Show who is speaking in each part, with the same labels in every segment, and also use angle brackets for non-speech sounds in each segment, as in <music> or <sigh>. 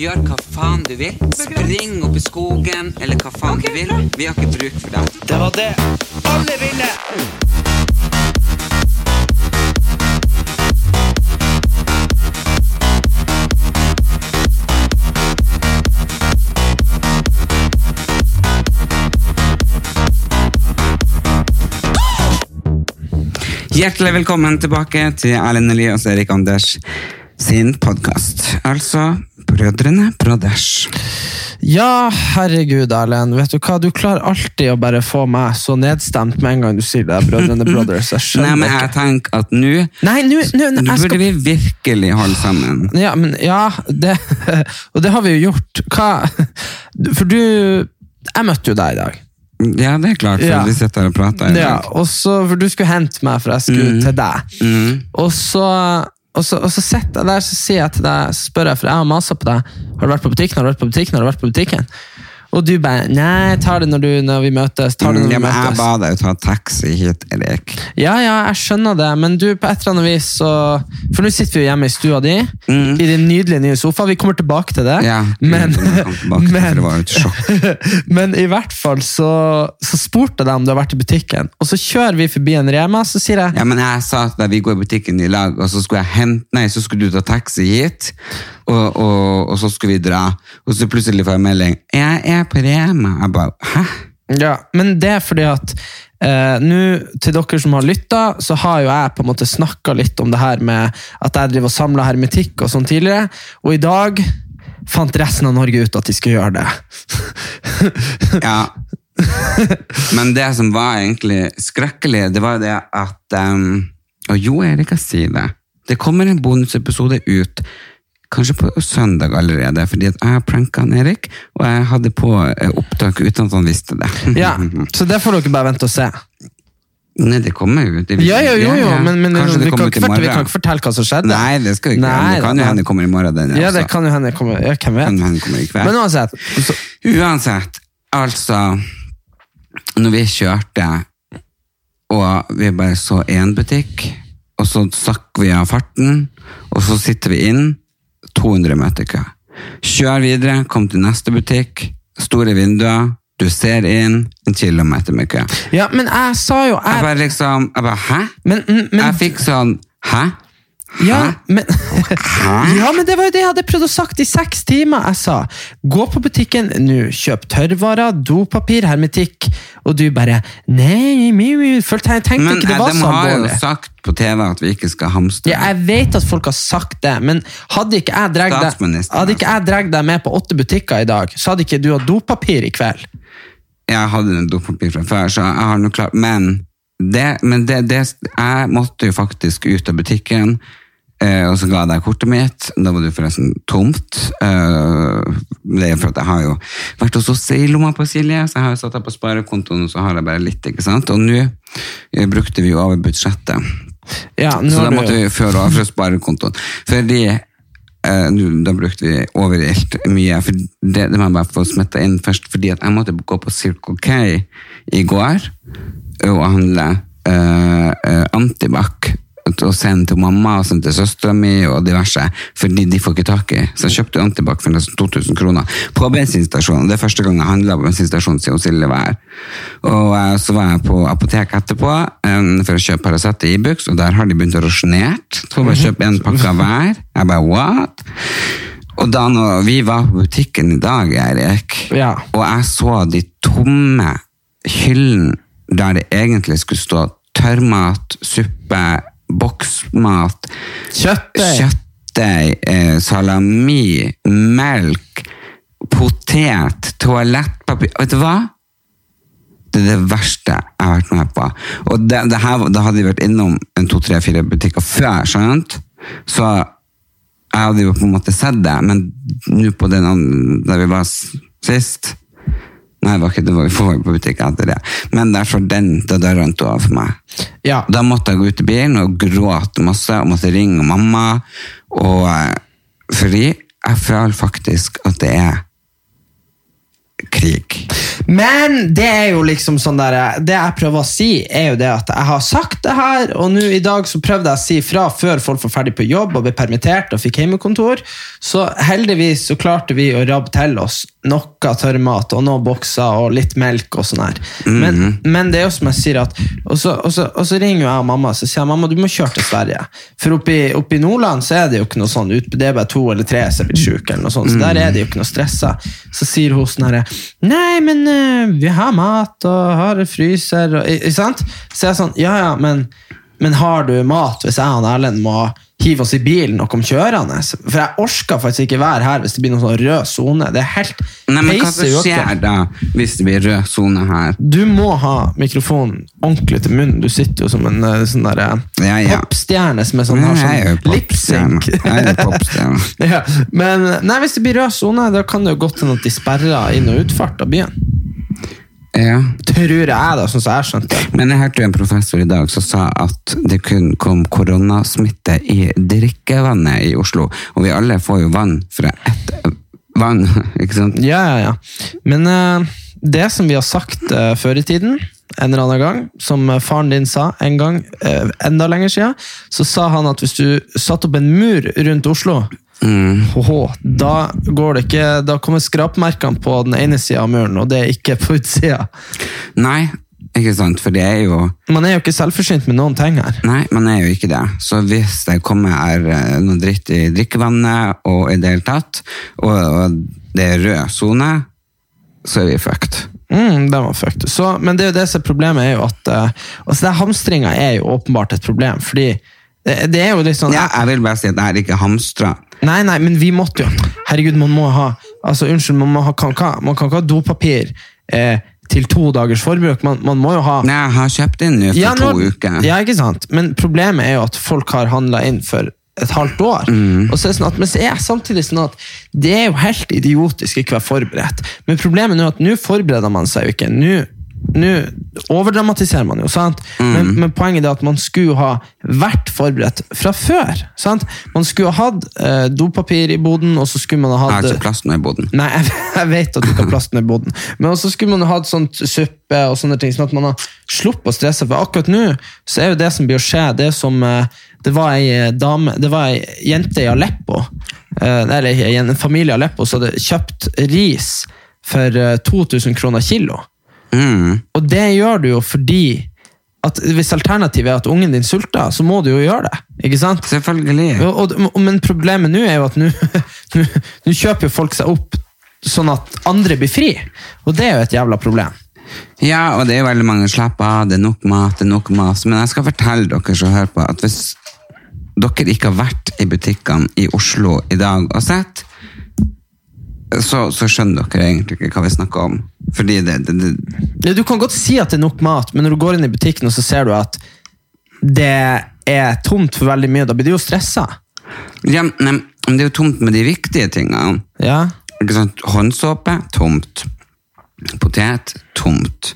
Speaker 1: Gjør hva faen du vil. Spring opp i skogen, eller hva faen du vil. Vi har ikke bruk for deg.
Speaker 2: Det var det alle ville!
Speaker 1: Hjertelig velkommen tilbake til Erlend Elias og Erik Anders sin podkast. Altså Brødrene Brothers.
Speaker 2: Ja, herregud, Erlend. Vet du hva? Du klarer alltid å bare få meg så nedstemt med en gang du sier det. er Brødrene Brothers. Jeg
Speaker 1: Nei, men
Speaker 2: skjønner
Speaker 1: jeg
Speaker 2: ikke.
Speaker 1: tenker at nå
Speaker 2: Nei, nå nå- nå-
Speaker 1: Nå
Speaker 2: jeg skal
Speaker 1: burde vi virkelig holde sammen.
Speaker 2: Ja, men ja, det, <laughs> og det har vi jo gjort. Hva, for du Jeg møtte jo deg i dag.
Speaker 1: Ja, det er klart, for
Speaker 2: Ja.
Speaker 1: vi sitter her og prater. i
Speaker 2: Ja,
Speaker 1: dag.
Speaker 2: og så, for du skulle hente meg, for jeg skulle til deg.
Speaker 1: Mm.
Speaker 2: Og så, og så, og så sitter jeg der så sier jeg til deg, så spør jeg, for jeg har masa på deg Har du vært på butikken, har du vært på butikken, har du vært på butikken? Og du bare Nei, tar det når, du, når vi møtes. Tar det når
Speaker 1: Mm, Ja,
Speaker 2: vi
Speaker 1: men jeg
Speaker 2: møtes.
Speaker 1: ba deg jo ta taxi hit, Erik.
Speaker 2: Ja, ja, jeg skjønner det, men du, på et eller annet vis så For nå sitter vi jo hjemme i stua di,
Speaker 1: Mm.
Speaker 2: i din nydelige nye sofa. Vi kommer tilbake til det,
Speaker 1: Ja, Mm,
Speaker 2: <laughs> men,
Speaker 1: vi kommer tilbake til det, for det var jo et
Speaker 2: <laughs> men i hvert fall så, så spurte jeg deg om du har vært i butikken, og så kjører vi forbi en Rema, så sier jeg
Speaker 1: Ja, men jeg sa at da vi går i butikken i lag, og så skulle jeg hente, nei, så skulle du ta taxi hit, og, og, og så skulle vi dra. Og så plutselig får jeg melding, jeg er på Rema. Jeg bare, hæ?
Speaker 2: Ja, men det er fordi at eh, nå, til dere som har lytta, så har jo jeg på en måte snakka litt om det her med at jeg driver og samler hermetikk og sånn tidligere, og i dag fant resten av Norge ut at de skulle gjøre det. <laughs>
Speaker 1: Ja. Men det som var egentlig skrekkelig, det var det at, ehm, og jo, Erik, jeg sier det, det kommer en bonusepisode ut, kanskje på søndag allerede, fordi at jeg pranket han Erik, og jeg hadde på eh, opptak uten at han visste det. <laughs>
Speaker 2: ja, så det får dere bare vente og se.
Speaker 1: Nei, det kommer jo. Det
Speaker 2: Ja, ja, jo, jo,
Speaker 1: ja.
Speaker 2: men, men
Speaker 1: Kanskje
Speaker 2: vi,
Speaker 1: det
Speaker 2: kan
Speaker 1: kommer
Speaker 2: ikke
Speaker 1: ut i
Speaker 2: fort- vi kan
Speaker 1: morgen.
Speaker 2: ikke fortelle hva som skjedde.
Speaker 1: Nei, det skal vi ikke.
Speaker 2: Nei,
Speaker 1: men det kan jo
Speaker 2: nei.
Speaker 1: hende det kommer i morgen. Den,
Speaker 2: Ja,
Speaker 1: også.
Speaker 2: det kan jo hende kommer. Ja, hvem
Speaker 1: Kan
Speaker 2: vet?
Speaker 1: hende det kommer i kveld.
Speaker 2: Men uansett, så,
Speaker 1: Uansett, altså Når vi kjørte, og vi bare så én butikk, og så stakk vi av farten, og så sitter vi inn 200 meter kø. Kjør videre, kom til neste butikk, store vinduer, du ser inn, en kilometer med kø.
Speaker 2: ja, men jeg sa jo
Speaker 1: Jeg
Speaker 2: jeg,
Speaker 1: bare liksom Jeg bare Hæ?
Speaker 2: men, men,
Speaker 1: Jeg fikk sånn Hæ?
Speaker 2: Ja, men, <laughs> ja, men det var jo det jeg hadde prøvd å sagt i seks timer. Jeg sa gå på butikken nå, kjøp tørrvarer, dopapir, hermetikk. Og du bare nei, mi, mi. Følte jeg tenkte
Speaker 1: Men
Speaker 2: ikke det
Speaker 1: eh,
Speaker 2: var
Speaker 1: de
Speaker 2: så
Speaker 1: har jo
Speaker 2: alvorlig.
Speaker 1: sagt på TV at vi ikke skal hamstre.
Speaker 2: Ja, jeg vet at folk har sagt det, men hadde ikke jeg dreg deg,
Speaker 1: Statsministeren, altså.
Speaker 2: hadde ikke jeg dreg deg med på åtte butikker i dag, så hadde ikke du hatt dopapir i kveld.
Speaker 1: jeg hadde en dopapir fra før, så jeg har noe klart. Men, det, men det, det, jeg måtte jo faktisk ut av butikken, eh, og så ga jeg deg kortet mitt. Da var det jo forresten tomt. Eh, det er for at jeg har jo vært hos oss i lomma på Silje, så jeg har jo satt deg på sparekontoen, og så har jeg bare litt, ikke sant? Og nå eh, brukte vi jo over budsjettet.
Speaker 2: Ja, nå
Speaker 1: Så da
Speaker 2: har du-
Speaker 1: måtte vi føre av fra sparekontoen. Fordi eh, nå- da brukte vi overilt mye. For det, det må jeg bare få smetta inn først, fordi at jeg måtte gå på Circle K i går og handle eh, eh, antibac. Og sende til mamma og sende til søstera mi og diverse. Fordi de får ikke tak i. Så jeg kjøpte antibac for nesten 2000 kroner på bensinstasjonen. Det er første gang jeg handla på bensinstasjonen siden Silje var her. Og eh, så var jeg på apotek etterpå eh, for å kjøpe Paracet i Ibux, og der har de begynt å rasjonert. Så bare kjøpe en pakke av hver. Jeg bare, what? Og da når vi var på butikken i dag, Erik,
Speaker 2: Ja.
Speaker 1: og jeg så de tomme hyllene der det egentlig skulle stå tørrmat, suppe, boksmat,
Speaker 2: Kjøttdeig.
Speaker 1: kjøttdeig, eh, salami, melk, potet, toalettpapir. Vet du hva? Det er det verste jeg har vært med på. Og det, det her, da hadde vi vært innom en to-tre-fire butikker før, skjønt? Så jeg hadde jo på en måte sett det, men nå på den andre, der vi var s- sist Nei, det var ikke det var vi får på butikken etter det. Men derfor den, da der rant hun av for meg.
Speaker 2: Ja.
Speaker 1: Da måtte jeg gå ut i bilen og gråte masse, og måtte ringe mamma. Og, eh, fordi jeg føler faktisk at det er krig.
Speaker 2: Men det er jo liksom sånn der Det jeg prøver å si, er jo det at jeg har sagt det her, og nå i dag så prøvde jeg å si fra før folk var ferdig på jobb og ble permittert og fikk hjemmekontor. Så heldigvis så klarte vi å rabbe til oss noe tørrmat og noen bokser og litt melk og sånn her. Men,
Speaker 1: Mhm.
Speaker 2: men det er jo som jeg sier at Og så, og så, og så ringer jo jeg og mamma og så sier jeg, mamma du må kjøre til Sverige. For oppe i, oppe i Nordland så er det jo ikke noe sånn ut, det er bare to eller tre som er blitt syke, eller noe sånt, så der er det jo ikke noe stressa. Så sier hun sånn herre Nei, men eh, vi har mat og har fryser og Ikke sant? Så jeg er sånn Ja, ja, men, men har du mat hvis jeg og Erlend må hive oss i bilen og komme kjørende? For jeg orker faktisk ikke være her hvis det blir noen sånn rød sone. Det er helt
Speaker 1: Nei, men hva
Speaker 2: peise
Speaker 1: som skjer
Speaker 2: uaktuelt.
Speaker 1: da hvis det blir rød sone her?
Speaker 2: Du må ha mikrofonen ordentlig til munnen. Du sitter jo som en eh, sånn derre
Speaker 1: Ja, ja.
Speaker 2: popstjerne som er sånn,
Speaker 1: Nei,
Speaker 2: har
Speaker 1: jeg er jo
Speaker 2: sånn
Speaker 1: popstjerne.
Speaker 2: lipsync.
Speaker 1: Jeg er popstjerne.
Speaker 2: <laughs> ja. Men nei, hvis det blir rød sone, da kan det jo godt hende at de sperrer inn- og utfart av byen.
Speaker 1: Ja.
Speaker 2: Tror jeg, da, sånn som jeg skjønte det.
Speaker 1: Men jeg hørte jo en professor i dag som sa at det kun kom koronasmitte i drikkevannet i Oslo. Og vi alle får jo vann fra ett vann, <laughs> ikke sant?
Speaker 2: Ja, ja, ja. Men eh, det som vi har sagt eh, før i tiden, en eller annen gang, som eh, faren din sa en gang, eh, enda lenger siden, så sa han at hvis du satt opp en mur rundt Oslo, hoho, da, går det ikke, da kommer skrapmerkene på den ene siden av muren, og det er ikke på utsida.
Speaker 1: Nei, ikke sant? For det er jo
Speaker 2: Man er jo ikke selvforsynt med noen ting her.
Speaker 1: Nei, man er jo ikke det. Så hvis det kommer er eh, noe dritt i drikkevannet, og i det hele tatt, og, og det er rød sone, så er vi fucked.
Speaker 2: Mm, den var fucked. Så, men det er jo det som er problemet, er jo at uh, altså, det hamstringa er jo åpenbart et problem, fordi det, det er jo litt sånn
Speaker 1: Ja, jeg vil bare si at jeg er ikke hamstra.
Speaker 2: Nei, nei, men vi måtte jo. Herregud, man må ha altså, unnskyld, man, må ha, kan, ikke ha- man kan ikke ha dopapir eh, til to dagers forbruk. Man, man må jo ha
Speaker 1: Nei, jeg har kjøpt inn nå for
Speaker 2: Ja, nå-
Speaker 1: to uker.
Speaker 2: Ja, ikke sant? Men problemet er jo at folk har handla inn for et halvt år.
Speaker 1: Mm.
Speaker 2: Og så er det sånn at, men så er jeg samtidig sånn at det er jo helt idiotisk ikke å være forberedt. Men problemet nå er at nå forbereder man seg jo ikke. Nå nå overdramatiserer man jo, sant? Men,
Speaker 1: Mm.
Speaker 2: men poenget er at man skulle ha vært forberedt fra før. sant? Man skulle ha hatt eh, dopapir i boden, og så skulle man ha
Speaker 1: Jeg
Speaker 2: hatt
Speaker 1: har ikke plass nå i boden.
Speaker 2: Nei, jeg, jeg vet at du ikke har plasten i boden. Men også skulle man ha hatt sånt suppe og sånne ting, sånn at man har sluppet å stresse. For akkurat nå så er jo det som blir å skje, det er som eh, Det var ei eh, dame Det var ei jente i Aleppo, eh, eller ikke, en- en familie i Aleppo, som hadde kjøpt ris for eh, 2000 kroner kilo.
Speaker 1: Mm.
Speaker 2: Og det gjør du jo fordi at hvis alternativet er at ungen din sulter, så må du jo gjøre det. Ikke sant?
Speaker 1: Selvfølgelig.
Speaker 2: Ja, og, og, men problemet nå er jo at nå <laughs> nå- nå kjøper jo folk seg opp sånn at andre blir fri. Og det er jo et jævla problem.
Speaker 1: Ja, og det er jo veldig mange slapp av, det er nok mat, det er nok mas. Men jeg skal fortelle dere som hører på, at hvis dere ikke har vært i butikkene i Oslo i dag og sett, så, så skjønner dere egentlig ikke hva vi snakker om. Fordi det, det, det
Speaker 2: Ja, Du kan godt si at det er nok mat, men når du går inn i butikken og så ser du at det er tomt for veldig mye, da blir du jo stressa.
Speaker 1: ja, nei, men det er jo tomt med de viktige tingene.
Speaker 2: Ja.
Speaker 1: Ikke sant? Håndsåpe, tomt. Potet, tomt.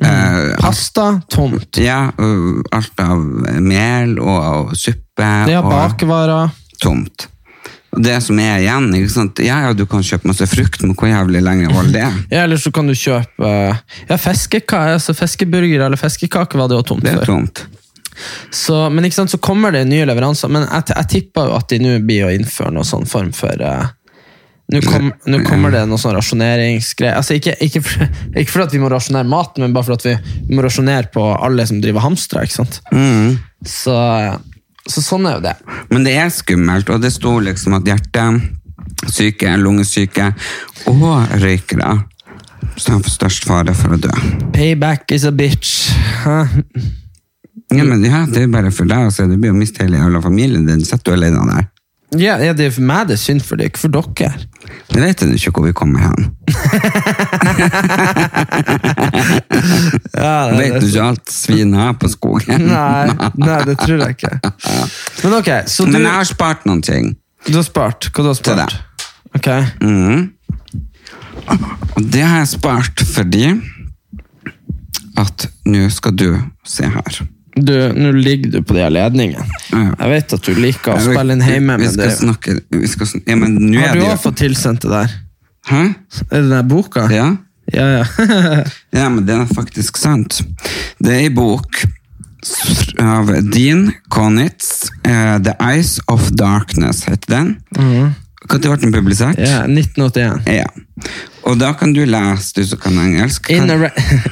Speaker 2: Mm.
Speaker 1: Eh,
Speaker 2: Pasta tomt.
Speaker 1: ja, og alt av mel og, og suppe.
Speaker 2: Det er
Speaker 1: og-
Speaker 2: bakevarer.
Speaker 1: tomt. Og Det som er igjen, ikke sant? Ja, ja, du kan kjøpe masse frukt, men hvor jævlig lenge holder det?
Speaker 2: Ja, eller så kan du kjøpe eh, ja, feskeka, altså feskeburger eller feskekake var det jo tomt
Speaker 1: Det
Speaker 2: for.
Speaker 1: er tomt.
Speaker 2: Så, men ikke sant, så kommer det nye leveranser, men jeg, jeg tipper jo at de nå blir å innføre noen sånn form for eh, Nå kom, nå kommer det noe sånn rasjoneringsgreier. Altså, ikke, ikke, for, <laughs> ikke for at vi må rasjonere maten, men bare for at vi, vi må rasjonere på alle som driver hamstra. ikke sant? Så, så sånn er jo det.
Speaker 1: Mm. Men det er skummelt, og det sto liksom at hjertesyke, lungesyke og røykere står for størst fare for å dø.
Speaker 2: Payback is a bitch. Hæ?
Speaker 1: Ja, men ja, det er bare for deg, altså. Du blir jo miste hele jævla familien din. Sitter du alene der?
Speaker 2: Ja, ja, det er for meg det er synd, for det er ikke for dere.
Speaker 1: Jeg vet jo ikke hvor vi kommer hen.
Speaker 2: Ja, det,
Speaker 1: Vet du
Speaker 2: <laughs>
Speaker 1: ikke alt svin har på skogen? <laughs>
Speaker 2: nei, nei, det tror jeg ikke. Men ok, så du
Speaker 1: Men jeg har spart noen ting.
Speaker 2: Du har spart. Hva du har
Speaker 1: Til
Speaker 2: spart? Ok.
Speaker 1: Mhm. Og det har jeg spart fordi at nå skal du se her.
Speaker 2: Du, nå ligger du på de her ledningene.
Speaker 1: Ja.
Speaker 2: Jeg vet at du liker å spille inn hjemme,
Speaker 1: vi
Speaker 2: men
Speaker 1: skal
Speaker 2: det
Speaker 1: snakke vi skal, sn- Ja, men nå er
Speaker 2: Har du
Speaker 1: det
Speaker 2: òg
Speaker 1: jo
Speaker 2: fått tilsendt det der?
Speaker 1: Hæ?
Speaker 2: Er det den der boka?
Speaker 1: Ja?
Speaker 2: ja. ja. <laughs>
Speaker 1: ja, men det er faktisk sant. Det er ei bok s- av Dean Konitz. eh, 'The Eyes of Darkness' heter den. Når ble den publisert?
Speaker 2: Mhm. ja 1981.
Speaker 1: Ja. Og da kan du lese, du som kan engelsk. Kan,
Speaker 2: In, ar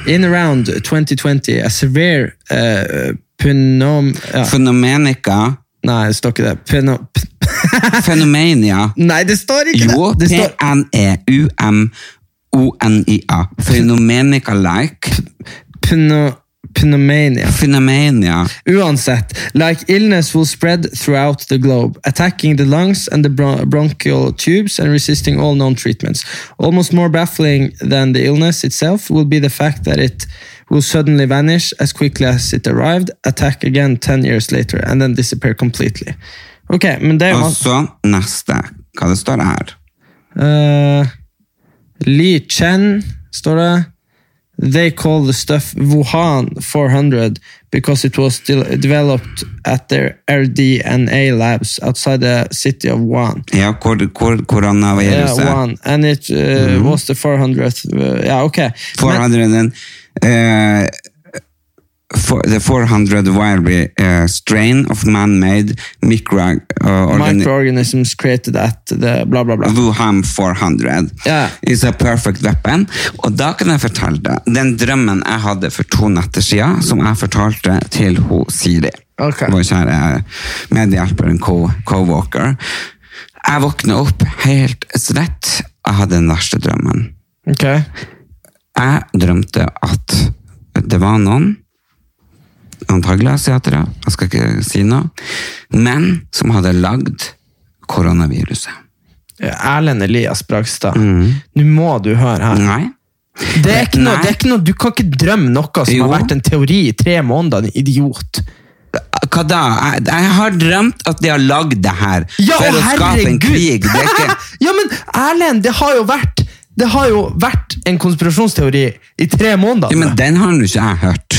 Speaker 2: in around <laughs> 2020, a severe uh, phenom... Ja.
Speaker 1: Fenomenica
Speaker 2: Nei, det står ikke det. Phenom...
Speaker 1: Fenomenia.
Speaker 2: <laughs> Nei, det står ikke
Speaker 1: Jo,
Speaker 2: det! det står
Speaker 1: E P-N-E-U-M-O-N-I-A. Fenomenica-like.
Speaker 2: pno pneumania.
Speaker 1: Fenomenia.
Speaker 2: Uansett, like illness will spread throughout the globe, attacking the lungs and the bron- bronchial tubes and resisting all known treatments. Almost more baffling than the illness itself will be the fact that it will suddenly vanish as quickly as it arrived, attack again 10 years later, and then disappear completely. Ok, men det er jo
Speaker 1: Og
Speaker 2: han-
Speaker 1: så neste. Hva det står her?
Speaker 2: Eh, Li Chen, står det. They call the stuff Wuhan 400 because it was de- developed at their RDNA labs outside the city of Wuhan.
Speaker 1: Ja, hvor, hvor,
Speaker 2: Yeah,
Speaker 1: koronaviruset.
Speaker 2: Wuhan. And it uh, was the 400th. Uh, ja, ok.
Speaker 1: 400 and, eh, for, the 400 wildly eh, strain of man-made micro, uh,
Speaker 2: Men microorganisms created at the bla, bla, bla.
Speaker 1: Wuhan 400
Speaker 2: Ja.
Speaker 1: is a perfect weapon. Og da kan jeg fortelle deg den drømmen jeg hadde for to netter siden, som jeg fortalte til ho Siri,
Speaker 2: Ok.
Speaker 1: vår kjære medhjelperen co- co-walker. Jeg våkna opp helt svett. Jeg hadde den verste drømmen.
Speaker 2: Ok.
Speaker 1: Jeg drømte at det var noen, antagelig asiatere, jeg skal ikke si noe, men som hadde lagd koronaviruset.
Speaker 2: Erlend Elias Bragstad, nå må du høre her.
Speaker 1: Nei.
Speaker 2: Det er ikke noe,
Speaker 1: Nei.
Speaker 2: det er ikke noe, du kan ikke drømme noe som
Speaker 1: Jo.
Speaker 2: har vært en teori i tre måneder, din idiot.
Speaker 1: Hva da? Jeg, jeg har drømt at de har lagd det her
Speaker 2: Ja,
Speaker 1: for
Speaker 2: å,
Speaker 1: å skape en
Speaker 2: herregud!
Speaker 1: krig. Det er
Speaker 2: <laughs>
Speaker 1: ikke...
Speaker 2: ja, men Erlend, det har jo vært Det har jo vært en konspirasjonsteori i tre måneder.
Speaker 1: Ja, men den har nå ikke jeg hørt.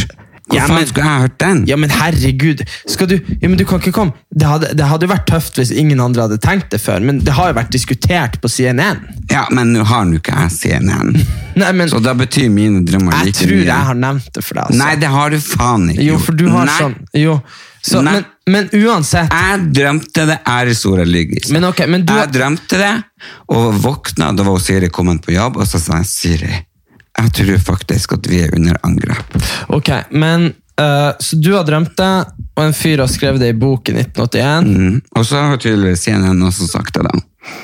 Speaker 1: Hvor
Speaker 2: Ja, men-
Speaker 1: faen skulle jeg ha hørt den?
Speaker 2: Ja, men herregud, skal du Ja, men du kan ikke komme Det hadde, det hadde jo vært tøft hvis ingen andre hadde tenkt det før, men det har jo vært diskutert på CNN.
Speaker 1: Ja, men nå har nå ikke jeg CNN.
Speaker 2: Nei, men
Speaker 1: Så da betyr mine drømmer
Speaker 2: jeg
Speaker 1: like
Speaker 2: tror
Speaker 1: mye.
Speaker 2: jeg har nevnt det for deg. altså.
Speaker 1: Nei, det har du faen ikke.
Speaker 2: jo, for du har
Speaker 1: Nei.
Speaker 2: sånn Jo. Så,
Speaker 1: Nei.
Speaker 2: men, men uansett
Speaker 1: Jeg drømte det, æres ordet ligger.
Speaker 2: Men ok, men du-
Speaker 1: Jeg drømte det, og våkna, da var Siri kommet på jobb, og så sa jeg, Siri, jeg tror faktisk at vi er under angrep.
Speaker 2: Ok, men eh, Så du har drømt det, og en fyr har skrevet det i bok i 1981.
Speaker 1: Mm. Og så har tydeligvis CNN også sagt det da.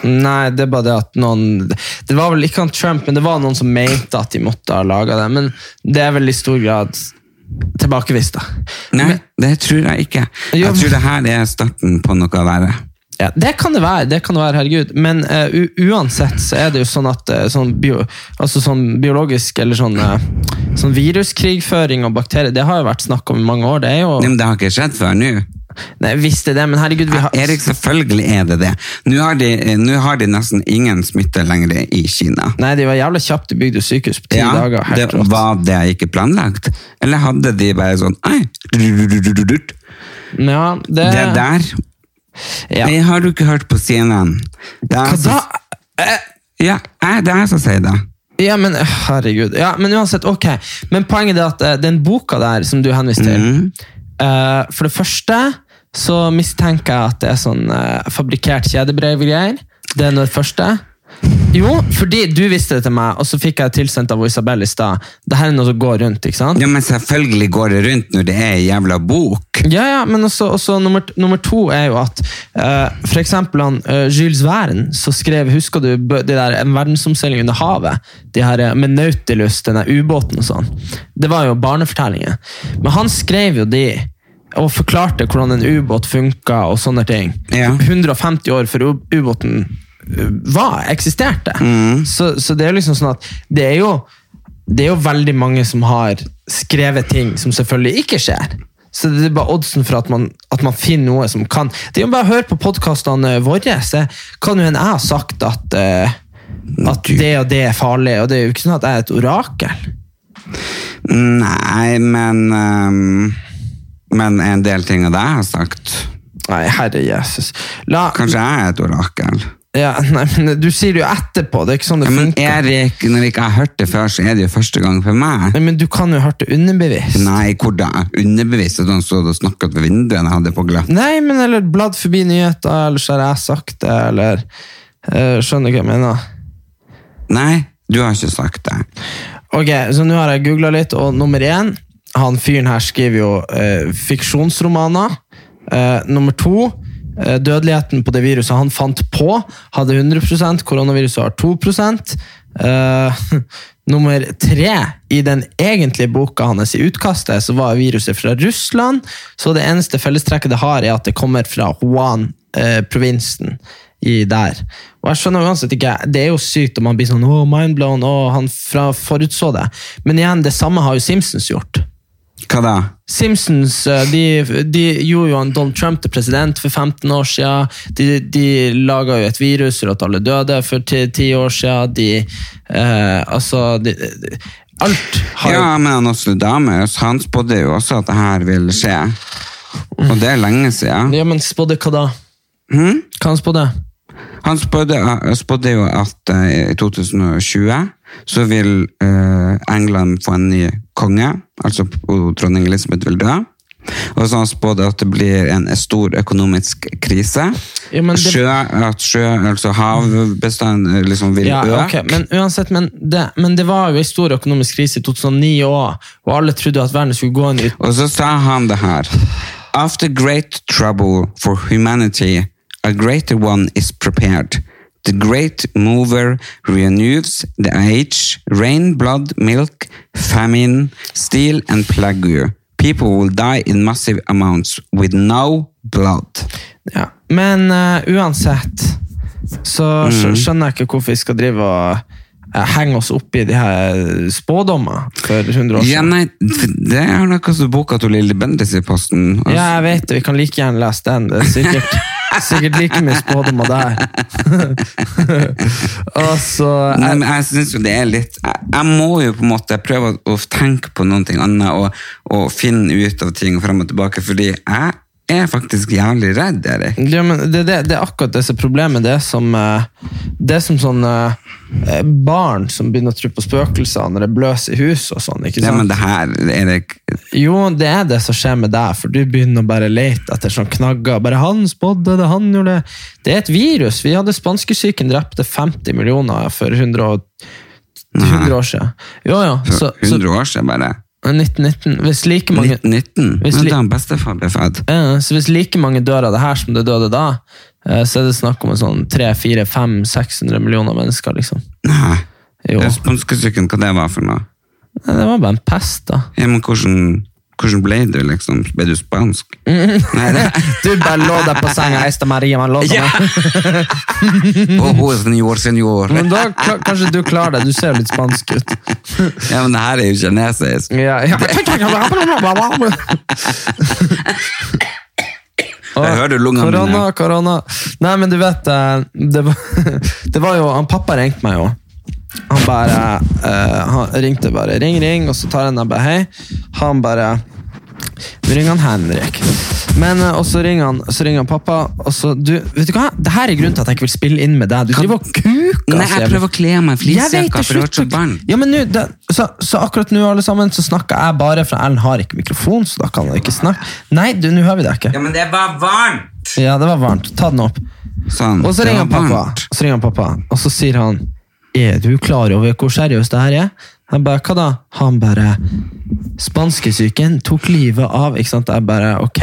Speaker 2: Nei, det er bare det at noen Det var vel ikke han Trump, men det var noen som mente at de måtte ha laga det. Men det er vel i stor grad tilbakevist, da.
Speaker 1: Nei, det tror jeg ikke.
Speaker 2: Jo,
Speaker 1: Jeg
Speaker 2: men-
Speaker 1: tror det her er starten på noe verre.
Speaker 2: Ja, det kan det være, det kan det være, herregud. Men eh, u uansett så er det jo sånn at eh, sånn, bio, altså sånn biologisk eller sånn, eh, sånn viruskrigføring og bakterier, det har jo vært snakk om i mange år. Det
Speaker 1: Nei,
Speaker 2: er jo
Speaker 1: men det har ikke skjedd før nå.
Speaker 2: Nei, visst er det, men herregud, vi har
Speaker 1: Ah, Erik, selvfølgelig er det det. Nå har de, eh, nå har de nesten ingen smitte lenger i Kina.
Speaker 2: Nei, de var jævla kjapt De bygde sykehus på ti
Speaker 1: Ja,
Speaker 2: dager.
Speaker 1: det,
Speaker 2: Helt rått.
Speaker 1: var det ikke planlagt? Eller hadde de bare sånn Ei, rudududududut.
Speaker 2: ja, det,
Speaker 1: Det der
Speaker 2: Eh. Ja.
Speaker 1: Det har du ikke hørt på CNN. Det er
Speaker 2: Hva da?
Speaker 1: som- Ja, jeg- det er jeg som sier det.
Speaker 2: Ja, men øh, herregud. Ja, men uansett, ok. Men poenget er at eh, den boka der som du henviste til, eh, for det første så mistenker jeg at det er sånn eh, fabrikkert kjedebrevgreier. Det er noe av det første. Jo, fordi du visste det til meg, og så fikk jeg tilsendt av Isabel i stad. Det her er noe som går rundt, ikke sant?
Speaker 1: Ja, men selvfølgelig går det rundt når det er ei jævla bok.
Speaker 2: Ja, ja, men også, også nummer, nummer to er jo at eh, for eksempel han eh, Jules Verne, så skrev, husker du bø- det der En verdensomseiling under havet? De her eh, med Nautilus, den der ubåten og sånn. Det var jo barnefortellinger. Men han skrev jo de og forklarte hvordan en ubåt funka og sånne ting.
Speaker 1: Ja.
Speaker 2: 150 år før u- ubåten eh, var, eksisterte.
Speaker 1: Mm.
Speaker 2: Så, så det er jo liksom sånn at det er jo det er jo veldig mange som har skrevet ting som selvfølgelig ikke skjer. Så det er bare oddsen for at man, at man finner noe som kan Det er jo bare å høre på podkastene våre. Så kan jo hende jeg har sagt at, eh, at det og det er farlig, og det er jo ikke sånn at jeg er et orakel.
Speaker 1: Nei, men ehm, Men en del ting av det jeg har sagt
Speaker 2: Nei, herre jesus. La,
Speaker 1: Kanskje jeg er et orakel.
Speaker 2: ja, nei, men du sier det jo etterpå, det er ikke sånn det
Speaker 1: Ja, Men
Speaker 2: funker.
Speaker 1: Erik, når ikke jeg har hørt det før, så er det jo første gang for meg.
Speaker 2: Nei, men du kan jo ha hørt det underbevisst.
Speaker 1: Nei, hvordan jeg underbevist at han stod og snakket ved vinduet jeg hadde på glatt.
Speaker 2: Nei, men eller bladd forbi nyheter, eller så har jeg sagt det, eller eh, Skjønner du hva jeg mener?
Speaker 1: Nei, du har ikke sagt det.
Speaker 2: Ok, så nå har jeg googla litt, og nummer én Han fyren her skriver jo eh, fiksjonsromaner. Eh, nummer to eh, Dødeligheten på det viruset han fant på, hadde 100 Koronaviruset har 2 eh, <laughs> Nummer tre I den egentlige boka hans i utkastet så var viruset fra Russland. Så det eneste fellestrekket det har, er at det kommer fra eh, Wuhan-provinsen i der. Og jeg skjønner uansett ikke, Det er jo sykt om man blir sånn oh, mindblown, oh, han fra forutså det. Men igjen, det samme har jo Simpsons gjort.
Speaker 1: Hva da?
Speaker 2: Simpsons eh, de, de gjorde jo han Donald Trump til president for 15 år siden. De, de laga jo et virus for at alle døde for 10 ti år siden. De, eh, altså de, de, Alt har jo
Speaker 1: Ja, men han Nostradamus, han spådde jo også at det her ville skje. Og det er lenge siden.
Speaker 2: Ja, men spådde hva da?
Speaker 1: Hm?
Speaker 2: Hva han spådde?
Speaker 1: Han spådde, spådde jo at eh, i 2020 så vil eh, England få en ny konge, altså og dronning Elisabeth vil dø. Og så han spådde at det blir en stor økonomisk krise.
Speaker 2: Ja, men det-
Speaker 1: Sjø, at sjø, altså havbestanden eh, liksom vil øke.
Speaker 2: Ja, ok, men uansett, men det, men det var jo en stor økonomisk krise i 2009 òg, og alle trodde at verden skulle gå inn i
Speaker 1: Og så sa han det her. After great trouble for humanity, a greater one is prepared. The great mover renews the age, rain, blood, milk, famine, steel and plague. you. People will die in massive amounts with no blood.
Speaker 2: Ja. Men eh, uansett så skj- skjønner jeg ikke hvorfor vi skal drive og eh, henge oss opp i de her spådommer for 100 år
Speaker 1: Ja,
Speaker 2: siden.
Speaker 1: nei, det er noe som boka til Lille Bendis i posten.
Speaker 2: Ja, jeg vet det. Vi kan like gjerne lese den. Det er sikkert, sikkert like mye spådommer der. <laughs> og så
Speaker 1: Nei, men jeg synes jo det er litt jeg, jeg må jo på en måte prøve å, å tenke på noe annet og, og finne ut av ting frem og tilbake, fordi jeg er faktisk jævlig redd, Erik.
Speaker 2: Ja, men det, det, det er akkurat det som er problemet. Det er som, eh, det er som sånn eh, barn som begynner å tro på spøkelser når det bløser i huset og sånn. ikke
Speaker 1: Ja,
Speaker 2: sant?
Speaker 1: men det her, Erik
Speaker 2: Jo, det er det som skjer med deg, for du begynner å bare lete etter sånn knagger. Bare han spådde det, han gjorde det. Det er et virus. Vi hadde spanskesyken drepte 50 millioner for 100, og, 100 år siden. Jo, ja. Så,
Speaker 1: for
Speaker 2: så
Speaker 1: 100 år siden bare.
Speaker 2: 1919 Hvis like mange
Speaker 1: 1919.
Speaker 2: Hvis
Speaker 1: Hvis
Speaker 2: li-
Speaker 1: da han bestefar ble født.
Speaker 2: Ja, Eh, så hvis like mange dør av det her som det døde da, eh, så er det snakk om en sånn 300-400-500-600 millioner mennesker, liksom.
Speaker 1: Nei.
Speaker 2: Jo. Nei,
Speaker 1: Spanskesyken, hva det var for noe?
Speaker 2: Det var bare en pest, da.
Speaker 1: Ja, men hvordan, hvordan ble du, liksom? Ble du spansk? Nei, det
Speaker 2: <laughs> Du bare lå der på senga, Eista Maria, man lå sånn. der.
Speaker 1: Oh, oh, senor, senor.
Speaker 2: Mhm. Men da kla- kanskje du klarer det. Du ser jo litt spansk ut.
Speaker 1: Ja, men det her er jo kinesisk.
Speaker 2: Ja, ja.
Speaker 1: Jeg hører lungene mine.
Speaker 2: Korona, korona. Nei, men du vet, eh, det var, <laughs> det var jo Han pappa ringte meg jo. Han bare eh, Han ringte bare ring, ring, og så tar han og bare hei. Han bare Nå ringer han Henrik. Men, eh, og så ringer han, så ringer han pappa, og så du, Vet du hva? Det her er grunnen til at jeg ikke vil spille inn med deg. Du driver og kuker.
Speaker 1: Nei, jeg prøver å kle meg i flisjakka, for det var så varmt.
Speaker 2: Ja, men nå, det, så, så akkurat nå alle sammen Så snakker jeg bare For Ellen har ikke mikrofon Så da kan han ikke snakke Nei, du, nå hører vi det ikke
Speaker 1: Ja, men det var varmt!
Speaker 2: Ja, det var varmt Ta den opp
Speaker 1: Sånn.
Speaker 2: Og så
Speaker 1: det
Speaker 2: ringer han
Speaker 1: var
Speaker 2: pappa
Speaker 1: varmt.
Speaker 2: Og så ringer han pappa Og så sier han Er du klar over hvor seriøst det her er? Han bare, hva da? Han bare Spanskesyken tok livet av Ikke sant? Jeg bare, ok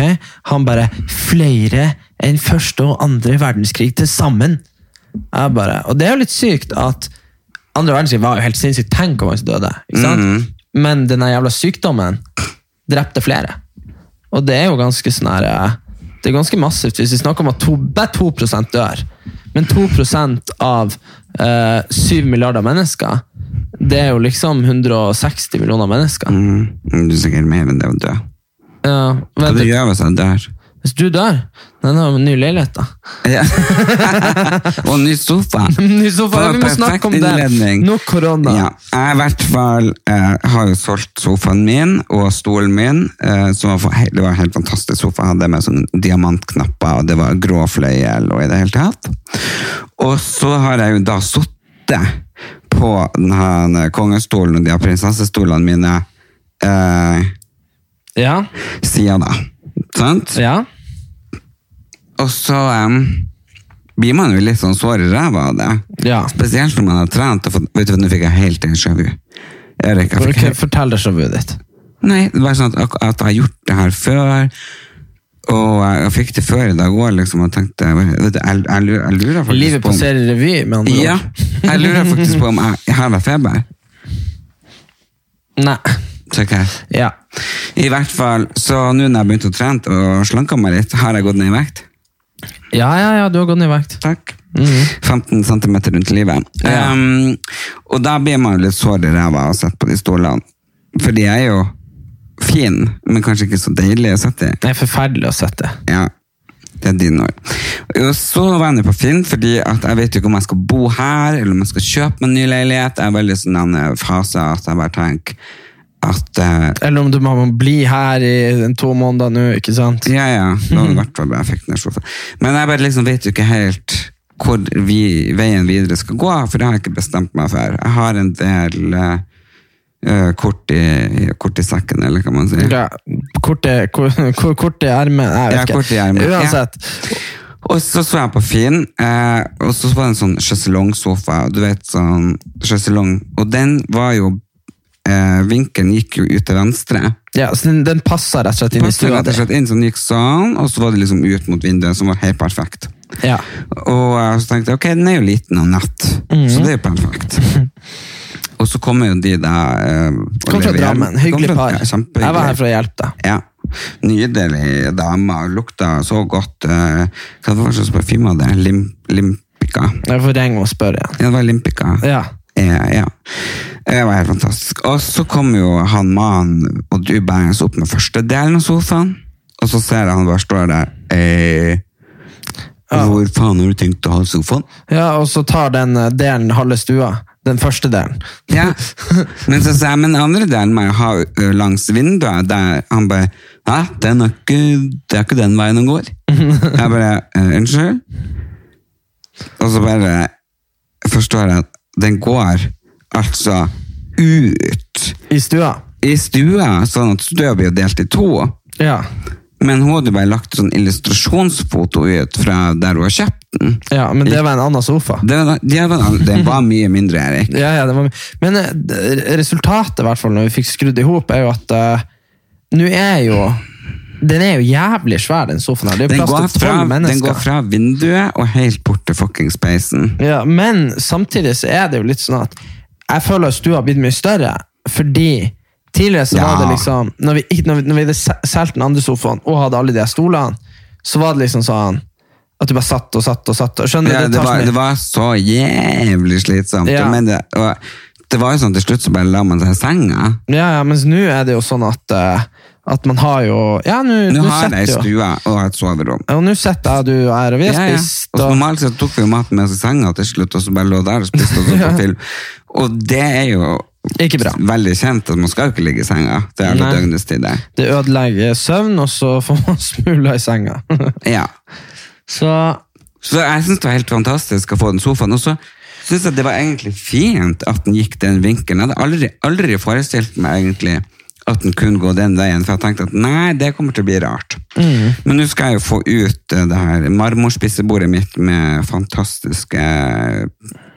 Speaker 2: Han bare Flere enn første og andre verdenskrig til sammen Jeg bare Og det er jo litt sykt at Andre verdenskrig var jo helt sinnssykt Tenk om han døde Ikke sant?
Speaker 1: Mm.
Speaker 2: Men denne jævla sykdommen Drepte flere og det er jo ganske sånn her eh, Det er ganske massivt hvis vi snakker om at to, bare 2 dør. Men 2 av eh, 7 milliarder mennesker, det er jo liksom 160 millioner mennesker.
Speaker 1: Mm, du er sikkert mer enn det å dø.
Speaker 2: Ja,
Speaker 1: Hva
Speaker 2: vent
Speaker 1: du
Speaker 2: litt.
Speaker 1: gjør sånn hvis jeg
Speaker 2: <laughs>
Speaker 1: dør?
Speaker 2: Hvis du dør Nei, nå har vi ny leilighet, da. <laughs>
Speaker 1: Ja. Og ny sofa.
Speaker 2: Ny sofa,
Speaker 1: Det var
Speaker 2: vi må
Speaker 1: perfekt
Speaker 2: snakke om det.
Speaker 1: innledning.
Speaker 2: Nok korona.
Speaker 1: Ja, jeg i hvert fall eh, har jo solgt sofaen min og stolen min, eh, som var, for- he- det var en helt fantastisk sofa. Jeg hadde med sånn diamantknapper, og det var grå fløyel og i det hele tatt. Og så har jeg jo da sittet på denne kongestolen og de her prinsessestolene mine eh,
Speaker 2: Ja.
Speaker 1: siden da. Sant?
Speaker 2: ja.
Speaker 1: Og så em, blir man jo litt sånn sår i ræva av det.
Speaker 2: Ja.
Speaker 1: Spesielt når man har trent. Og fått, vet du hva, nå fikk jeg helt déjà vu. Erik, jeg fikk
Speaker 2: Ok,
Speaker 1: helt-
Speaker 2: fortell deg showet ditt.
Speaker 1: Nei, det var sånn at, ak- at jeg har gjort det her før. Og jeg jeg fikk det før i dag òg, liksom. Og tenkte, vet du, jeg, jeg, lurer- jeg lurer faktisk
Speaker 2: Livet
Speaker 1: på om-
Speaker 2: passerer revy, med andre ord.
Speaker 1: Ja, jeg lurer faktisk på om jeg, jeg har feber.
Speaker 2: Nei.
Speaker 1: Så ok.
Speaker 2: Ja.
Speaker 1: I hvert fall, så nå når jeg begynte å trene og slanke meg litt, har jeg gått ned i vekt.
Speaker 2: ja, ja, ja, du har gått ned i vekt.
Speaker 1: Takk.
Speaker 2: Mhm.
Speaker 1: 15 cm rundt livet.
Speaker 2: Ja.
Speaker 1: Ehm, og da blir man jo litt sår i ræva av å sitte på de stolene. For de er jo fine, men kanskje ikke så deilige å sitte i.
Speaker 2: Det er forferdelig å sette.
Speaker 1: Ja, det er dine ord. Og så var jeg nede på Finn, fordi at jeg vet jo ikke om jeg skal bo her, eller om jeg skal kjøpe meg en ny leilighet. Jeg er veldig sånn en eh, fase at jeg bare tenker at eh,
Speaker 2: Eller om du må bli her i en to måneder nå, ikke sant?
Speaker 1: Ja, ja. Det var i
Speaker 2: Mhm.
Speaker 1: hvert fall jeg fikk den sofaen. Men jeg bare liksom vet jo ikke helt hvor vi, veien videre skal gå, for det har jeg ikke bestemt meg for. Jeg har en del eh, eh, kort, i, kort i sekken, eller hva man sier.
Speaker 2: Ja, kort i- Hvor hvor kort i ermet? Jeg vet
Speaker 1: Ja,
Speaker 2: ikke.
Speaker 1: kort i ermet. Ja.
Speaker 2: Uansett.
Speaker 1: Og så så jeg på Finn, eh, og så var det en sånn sjeselongsofa, du vet sånn sjeselong, og den var jo, eh, vinkelen gikk jo ut til venstre.
Speaker 2: Ja, så den, den passer rett og slett inn i
Speaker 1: Passet
Speaker 2: stua
Speaker 1: rett og
Speaker 2: di.
Speaker 1: slett inn, så den gikk sånn, og så var det liksom ut mot vinduet, som var helt perfekt.
Speaker 2: Ja.
Speaker 1: Og eh, så tenkte jeg, ok, den er jo liten og natt,
Speaker 2: Mhm.
Speaker 1: så det er jo
Speaker 2: <laughs>
Speaker 1: perfekt. Og så kommer jo de der... Eh, og
Speaker 2: Kom fra
Speaker 1: leverer-
Speaker 2: Drammen. Hyggelig
Speaker 1: Kom fra-
Speaker 2: par.
Speaker 1: Ja, kjempehyggelig.
Speaker 2: jeg var her for å hjelpe deg.
Speaker 1: Ja. Nydelig dame, lukta så godt. eh, Hva var det slags parfyme var det? Lim, limpika.
Speaker 2: Jeg får ringe og spørre igjen.
Speaker 1: Ja, det var limpika.
Speaker 2: Ja.
Speaker 1: Eh, ja. Det var helt fantastisk. Og så kom jo han mannen og du bærende opp med første delen av sofaen, og så ser jeg han bare står der eh,
Speaker 2: Ja.
Speaker 1: Hvor faen har du tenkt å ha sofaen?
Speaker 2: ja, og så tar den eh, delen halve stua. Den første delen.
Speaker 1: Ja. Men så sa jeg, men den andre delen må jeg ha ø, langs vinduet. Der han bare Hæ, den er ikke, det er ikke den veien den går. Jeg bare «Eh, Unnskyld? Og så bare forstår jeg at den går altså ut
Speaker 2: I stua.
Speaker 1: i stua, sånn at støv blir jo delt i to.
Speaker 2: Ja.
Speaker 1: Men hun hadde bare lagt sånn illustrasjonsfoto ut fra der hun har kjøpt den.
Speaker 2: ja, men det var en annen sofa.
Speaker 1: Det var, det var, den var mye mindre, Erik.
Speaker 2: Ja, ja, det var Men eh, d- resultatet, i hvert fall, når vi fikk skrudd i hop, er jo at eh, nå er jo Den er jo jævlig svær, den sofaen her. Det er
Speaker 1: Den
Speaker 2: jo
Speaker 1: går,
Speaker 2: plass til
Speaker 1: fra,
Speaker 2: tolv
Speaker 1: den går
Speaker 2: mennesker.
Speaker 1: fra vinduet og helt bort til fucking spacen.
Speaker 2: Ja, men samtidig så er det jo litt sånn at jeg føler at stua har blitt mye større, fordi tidligere så var
Speaker 1: Ja.
Speaker 2: det liksom Når vi, ikke- når vi, når vi hadde se- solgt den andre sofaen og hadde alle de her stolene, så var det liksom sånn at du bare satt og satt og satt. og Skjønner du?
Speaker 1: Ja,
Speaker 2: det
Speaker 1: det,
Speaker 2: tar så
Speaker 1: var,
Speaker 2: mye-
Speaker 1: det var så jævlig slitsomt.
Speaker 2: Ja.
Speaker 1: Men det, og det var jo sånn til slutt så bare la man seg i senga.
Speaker 2: Ja, ja, mens nå er det jo sånn at, eh, at man har jo Ja, nå
Speaker 1: Nå
Speaker 2: nå
Speaker 1: har jeg ei
Speaker 2: setter jo
Speaker 1: stue og et soverom.
Speaker 2: Ja, og nå sitter jeg og du her, og vi har
Speaker 1: Ja, ja.
Speaker 2: spist.
Speaker 1: Og så
Speaker 2: Og,
Speaker 1: normalt sett tok vi jo maten med oss i senga til slutt, og så bare lå der og spiste <laughs> og så på film. Og det er jo
Speaker 2: Ikke bra.
Speaker 1: veldig kjent at man skal jo ikke ligge i senga til alle
Speaker 2: Nei.
Speaker 1: døgnets tider.
Speaker 2: det ødelegger søvn, og så får man <laughs> smuler i senga. <laughs>
Speaker 1: Ja.
Speaker 2: så
Speaker 1: Så jeg synes det var helt fantastisk å få den sofaen, og så synes jeg det var egentlig fint at den gikk den vinkelen. Jeg hadde aldri, aldri forestilt meg egentlig at den kunne gå den veien, for jeg tenkte at nei, det kommer til å bli rart.
Speaker 2: Mm.
Speaker 1: Men nå skal jeg jo få ut eh, det her marmorspissebordet mitt med fantastiske eh,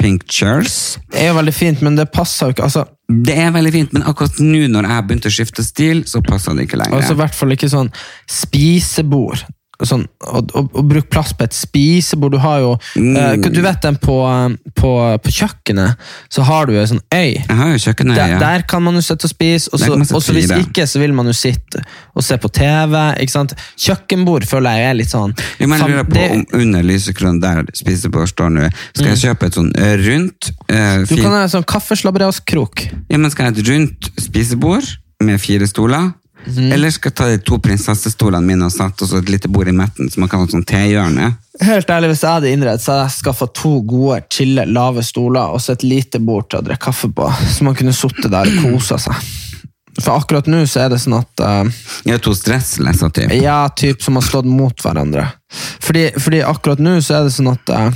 Speaker 1: pink chairs.
Speaker 2: det er jo veldig fint, men det passer jo ikke. Altså,
Speaker 1: Det er veldig fint, men akkurat nå når jeg begynte å skifte stil, så passet det ikke lenger.
Speaker 2: altså i hvert fall ikke sånn spisebord. Sånn, og, og, og bruk plass på et spisebord. Du har jo
Speaker 1: Mm.
Speaker 2: eh, Du vet den på, eh, på, på kjøkkenet, så har du ei sånn øy.
Speaker 1: jeg har jo kjøkkenøy,
Speaker 2: Der,
Speaker 1: ja.
Speaker 2: der kan man jo sitte og spise, og
Speaker 1: Der
Speaker 2: så,
Speaker 1: kan man sitte
Speaker 2: og så hvis
Speaker 1: fire.
Speaker 2: ikke, så vil man jo sitte og se på TV. Ikke sant? Kjøkkenbord føler jeg er litt sånn
Speaker 1: Jo, men jeg lurer på
Speaker 2: det- Mm.
Speaker 1: om under lysekronen der spisebordet står nå, skal jeg kjøpe et sånn eh, rundt, eh,
Speaker 2: Du kan
Speaker 1: fint
Speaker 2: ha en sånn kaffeslabberskrok.
Speaker 1: Ja, men skal jeg ha et rundt spisebord med fire stoler?
Speaker 2: Mm.
Speaker 1: Eller skal jeg ta de to prinsessestolene mine og satt og så et lite bord i midten, så man kan ha et sånt tehjørne.
Speaker 2: Helt ærlig, Hvis jeg hadde innredet, så hadde jeg skaffa to gode, chille, lave stoler og så et lite bord til å drikke kaffe på, så man kunne sittet der og kosa seg. For akkurat nå så er det sånn at eh,
Speaker 1: Ja, to stressleser, typ.
Speaker 2: Ja, typ som har stått mot hverandre. Fordi, fordi akkurat nå så er det sånn at eh,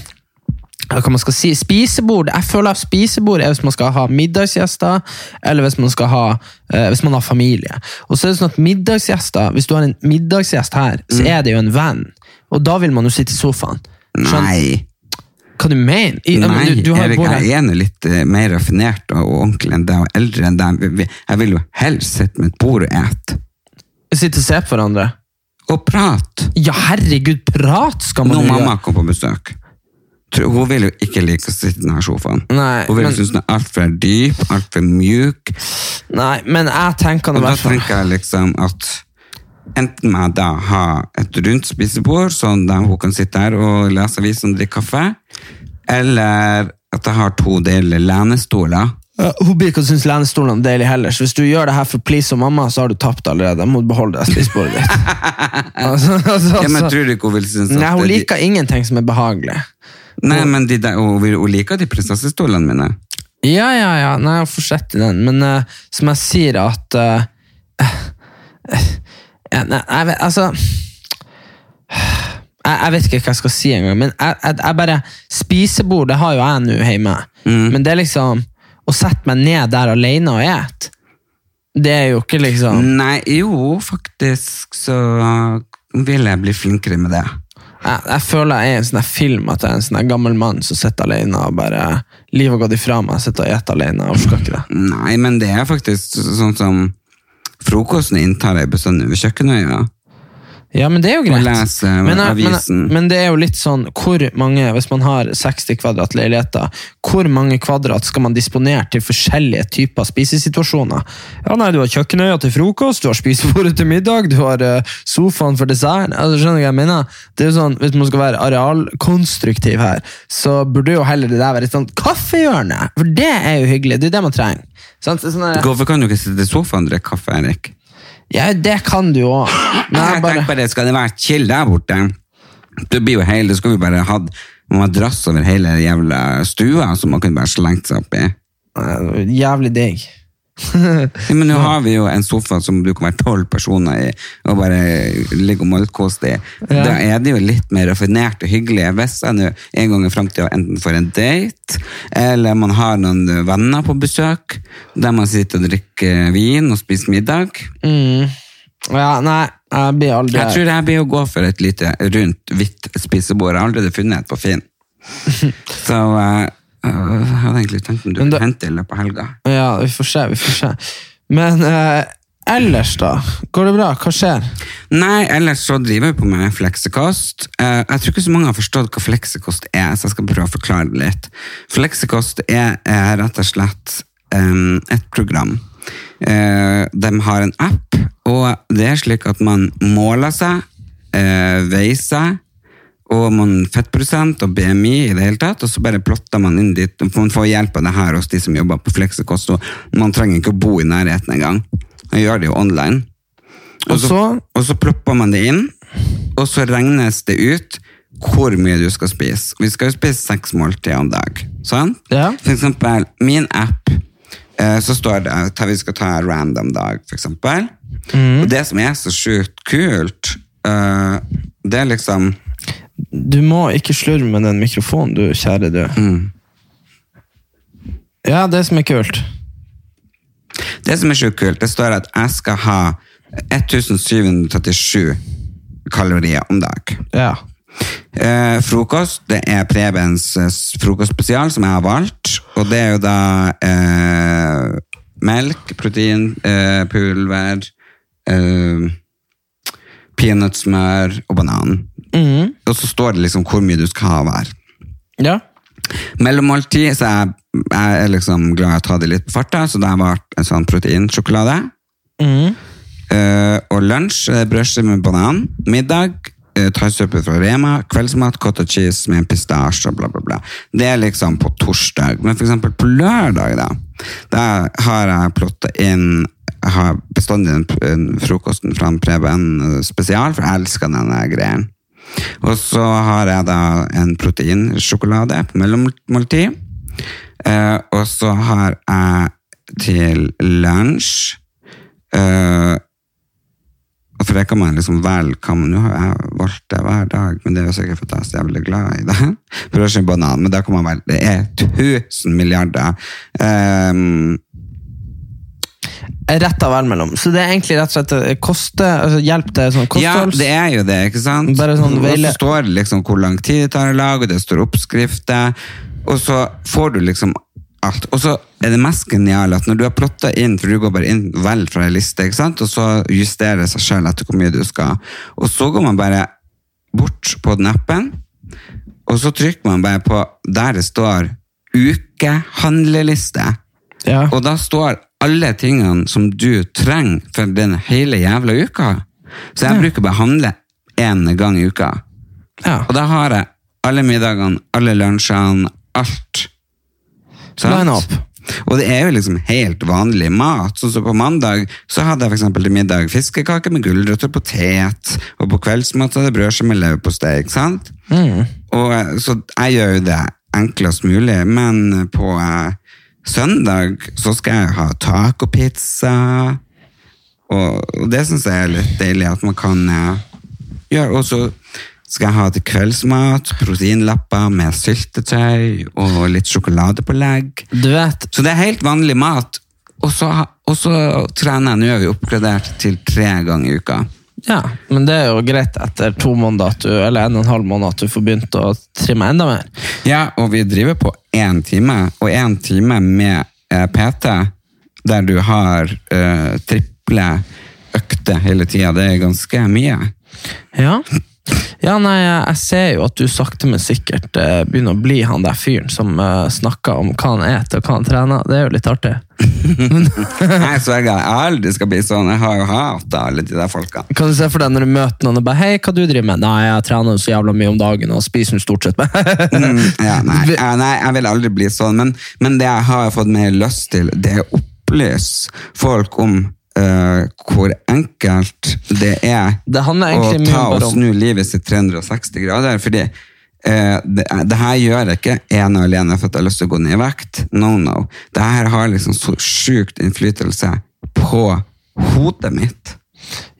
Speaker 2: hva man skal si, Spisebord jeg føler at spisebord er hvis man skal ha middagsgjester, eller hvis man, skal ha, eh, hvis man har familie. Og så er det sånn at middagsgjester, Hvis du har en middagsgjest her, så
Speaker 1: Mm.
Speaker 2: er det jo en venn. Og da vil man jo sitte i sofaen. Skjønner-
Speaker 1: Nei,
Speaker 2: Hva du mener I- ja, men
Speaker 1: nei
Speaker 2: du? Du har jo
Speaker 1: Erik,
Speaker 2: vært-
Speaker 1: jeg er nå litt eh, mer raffinert og og ordentlig enn deg, og eldre enn deg. Vi- vi- Jeg vil jo helst sitte med et bord og ete.
Speaker 2: Sitte og se på hverandre.
Speaker 1: Og prate!
Speaker 2: Ja, herregud, prat skal man
Speaker 1: Når
Speaker 2: jo
Speaker 1: mamma
Speaker 2: gjøre!
Speaker 1: kom på besøk Tror- Hun vil jo ikke like å sitte i denne sofaen.
Speaker 2: Nei,
Speaker 1: hun vil jo
Speaker 2: men-
Speaker 1: synes den er altfor dyp, altfor mjuk.
Speaker 2: Nei, men jeg tenker
Speaker 1: Og
Speaker 2: nå i
Speaker 1: da
Speaker 2: hvert fall
Speaker 1: tenker jeg liksom at enten må jeg da ha et rundt spisebord, sånn der hun kan sitte der og lese avis og drikke kaffe, eller at jeg har to deler lenestoler.
Speaker 2: Ja, Hun blir ikke synes lenestolene er deilig heller, så hvis du gjør det her for å please og mamma, så har du tapt allerede. Da må du beholde det spisebordet ditt.
Speaker 1: <laughs>
Speaker 2: altså, altså,
Speaker 1: Ja, men
Speaker 2: altså.
Speaker 1: tror du ikke hun vil synes at
Speaker 2: Nei, hun
Speaker 1: de-
Speaker 2: liker ingenting som er behagelig.
Speaker 1: Nei, men de der, hun, vil, hun liker de prinsessestolene mine.
Speaker 2: Ja, ja, ja, nei, jeg får sett i den, men eh, som jeg sier at eh, eh, ja, nei, jeg vet, altså jeg, jeg vet ikke hva jeg skal si engang, men jeg, jeg, jeg bare Spisebord, det har jo jeg nå hjemme,
Speaker 1: Mm.
Speaker 2: men det er liksom Å sette meg ned der alene og ete, det er jo ikke liksom
Speaker 1: Nei, jo, faktisk så vil jeg bli flinkere med det.
Speaker 2: jeg, jeg føler jeg er i en sånn her film at jeg er en sånn her gammel mann som sitter alene og bare Livet har gått ifra meg, jeg sitter og spiser alene. Jeg orker ikke det.
Speaker 1: Nei, men det er faktisk sånn som frokosten inntar jeg bestandig ved kjøkkenøya.
Speaker 2: Ja, men det er jo greit.
Speaker 1: Og lese
Speaker 2: men, jeg-
Speaker 1: avisen.
Speaker 2: Men, men det er jo litt sånn hvor mange, Hvis man har 60 kvadrat leiligheter, hvor mange kvadrat skal man disponere til forskjellige typer spisesituasjoner? Ja, nei, Du har kjøkkenøya til frokost, du har spisebordet til middag, du har eh, sofaen for desserten. Altså, skjønner du hva jeg mener? Det er jo sånn, Hvis man skal være arealkonstruktiv her, så burde jo heller det der være et sånt kaffehjørne! For det er jo hyggelig. Det er det man trenger. Sant? Det er Sånn, der-
Speaker 1: Hvorfor kan du ikke sitte i sofaen og drikke kaffe, Erik?
Speaker 2: ja, det kan du òg.
Speaker 1: <laughs> Jeg tenker bare, skal det være chill der borte? Det blir jo hele, skal vi bare ha en madrass over hele jævla stua, som man kunne bare slengt seg opp i.
Speaker 2: Jævlig digg.
Speaker 1: Ja, Men nå har vi jo en sofa som du kan være tolv personer i, og bare ligge og malkoste i. Da er det jo litt mer raffinert og hyggelig. Hvis jeg nå en gang i fremtiden enten får en date, eller man har noen venner på besøk, der man sitter og drikker vin og spiser middag.
Speaker 2: Mm. Ja, nei, jeg blir aldri
Speaker 1: Jeg tror jeg blir å gå for et lite rundt, hvitt spisebord. Jeg har allerede funnet et på
Speaker 2: <laughs>
Speaker 1: Finn. Så eh, jeg hadde egentlig tenkt om du
Speaker 2: Men da-
Speaker 1: kunne hente i løpet av helga.
Speaker 2: Ja, vi får se, vi får se. Men eh, ellers, da? Går det bra? Hva skjer?
Speaker 1: Nei, ellers så driver jeg på med fleksekost. Eh, Jeg tror ikke så mange har forstått hva fleksekost er, så jeg skal prøve å forklare det litt. Fleksekost er, eh, rett og slett em, et program. Eh, De har en app, og det er slik at man måler seg, eh, veier seg, og man fettprosent og BMI i det hele tatt, og så bare plotter man inn dit. og Man får hjelp av det her hos de som jobber på fleksekost, og man trenger ikke å bo i nærheten engang. Man gjør det jo online.
Speaker 2: Og
Speaker 1: Altså-
Speaker 2: så?
Speaker 1: Og så plopper man det inn, og så regnes det ut hvor mye du skal spise. Vi skal jo spise seks måltider om dag. Sånn?
Speaker 2: Ja.
Speaker 1: For eksempel, min app, eh, så står det at vi skal ta en random dag, for eksempel.
Speaker 2: Mm.
Speaker 1: Og det som er så sjukt kult, eh, det er liksom...
Speaker 2: Du må ikke slurve med den mikrofonen, du kjære du.
Speaker 1: Mm.
Speaker 2: Ja, det som er kult.
Speaker 1: Det som er sjukt kult, det står at jeg skal ha 1737 kalorier om dag.
Speaker 2: Ja.
Speaker 1: Eh, frokost, det er Prebens eh, frokostspesial som jeg har valgt, og det er jo da eh, melk, protein, eh, pulver, eh, peanøttsmør og banan. Og så står det liksom hvor mye du skal ha hver.
Speaker 2: Ja.
Speaker 1: Mellommåltid, så jeg, jeg er liksom glad i å ta det litt på farta, så det har vært en sånn proteinsjokolade. Eh, og lunsj, eh, brødskive med banan. Middag, uh, thaisuppe fra Rema. Kveldsmat, cottage cheese med pistasje og bla, bla, bla. Det er liksom på torsdag. Men for eksempel på lørdag, da, da har jeg plotta inn har jeg bestandig den, den frokosten fra en Preben spesial, for jeg elsker denne greien. Og så har jeg da en proteinsjokolade på mellommåltid. Eh, og så har jeg til lunsj eh, for det kan man liksom velge hva man Nå har jeg valgt det hver dag, men det er jo sikkert fordi jeg er så jævlig glad i det. <laughs> Brødskive og banan, men da kan man velge Det er 1000 milliarder. Ehm,
Speaker 2: Rett av vel mellom. Så det er egentlig rett og slett eh, koste, altså hjelp til sånn
Speaker 1: ja,
Speaker 2: kostholds...
Speaker 1: det er jo det, ikke sant?
Speaker 2: Bare sånn
Speaker 1: Og
Speaker 2: veile-
Speaker 1: så står det liksom hvor lang tid det tar å lage, og det står oppskrifter, og så får du liksom alt. Og så er det mest geniale at når du har plotta inn, for du går bare inn vel fra ei liste, ikke sant? og så justerer det seg sjøl etter hvor mye du skal, og så går man bare bort på den appen, og så trykker man bare på der det står ukehandleliste.
Speaker 2: ja.
Speaker 1: Og da står alle tingene som du trenger for den hele jævla uka. Så jeg bruker bare å handle én gang i uka.
Speaker 2: Ja.
Speaker 1: Og da har jeg alle middagene, alle lunsjene, alt. Sant?
Speaker 2: Line up.
Speaker 1: Og det er jo liksom helt vanlig mat. Sånn som på mandag så hadde jeg for eksempel til middag fiskekake med gulrøtter og potet, og på kveldsmat så hadde jeg brødskive med leverpostei, ikke sant? Og, eh, så jeg gjør jo det enklest mulig, men på eh, søndag så skal jeg ha tacopizza, og, og det synes jeg er litt deilig at man kan eh, gjøre. Og så skal jeg ha til kveldsmat, proteinlapper med syltetøy og litt sjokolade på legg.
Speaker 2: Du vet,
Speaker 1: Så det er helt vanlig mat. Og så, og så trener jeg. Nå er vi oppgradert til tre ganger i uka.
Speaker 2: ja, men det er jo greit etter to måneder at du, eller en og en halv måned at du får begynt å trimme enda mer.
Speaker 1: Ja, og vi driver på én time, og én time med eh, PT, der du har eh, triple økter hele tida, det er ganske mye.
Speaker 2: Ja. Ja, nei, jeg ser jo at du sakte, men sikkert eh, begynner å bli han der fyren som eh, snakker om hva han eter og hva han trener. Det er jo litt artig.
Speaker 1: Jeg sverger jeg aldri skal bli sånn. Jeg har jo hata alle de der folka.
Speaker 2: Kan du se for deg når du møter noen og bare 'Hei, hva du driver med?' 'Nei, jeg trener jo så jævla mye om dagen og spiser jo stort sett <laughs> med'.
Speaker 1: Mm, Ja,
Speaker 2: <laughs>
Speaker 1: nei, ja, nei, jeg vil aldri bli sånn, men, men det jeg har fått mer lyst til, det er å opplyse folk om eh, hvor enkelt det er
Speaker 2: Det handler egentlig mye
Speaker 1: å ta
Speaker 2: bare
Speaker 1: og
Speaker 2: om-
Speaker 1: snu livet sitt 360 grader. fordi eh, det, det her gjør jeg ikke ene og alene for at jeg har lyst til å gå ned i vekt. No, no. Det her har liksom så sjukt innflytelse på hodet mitt.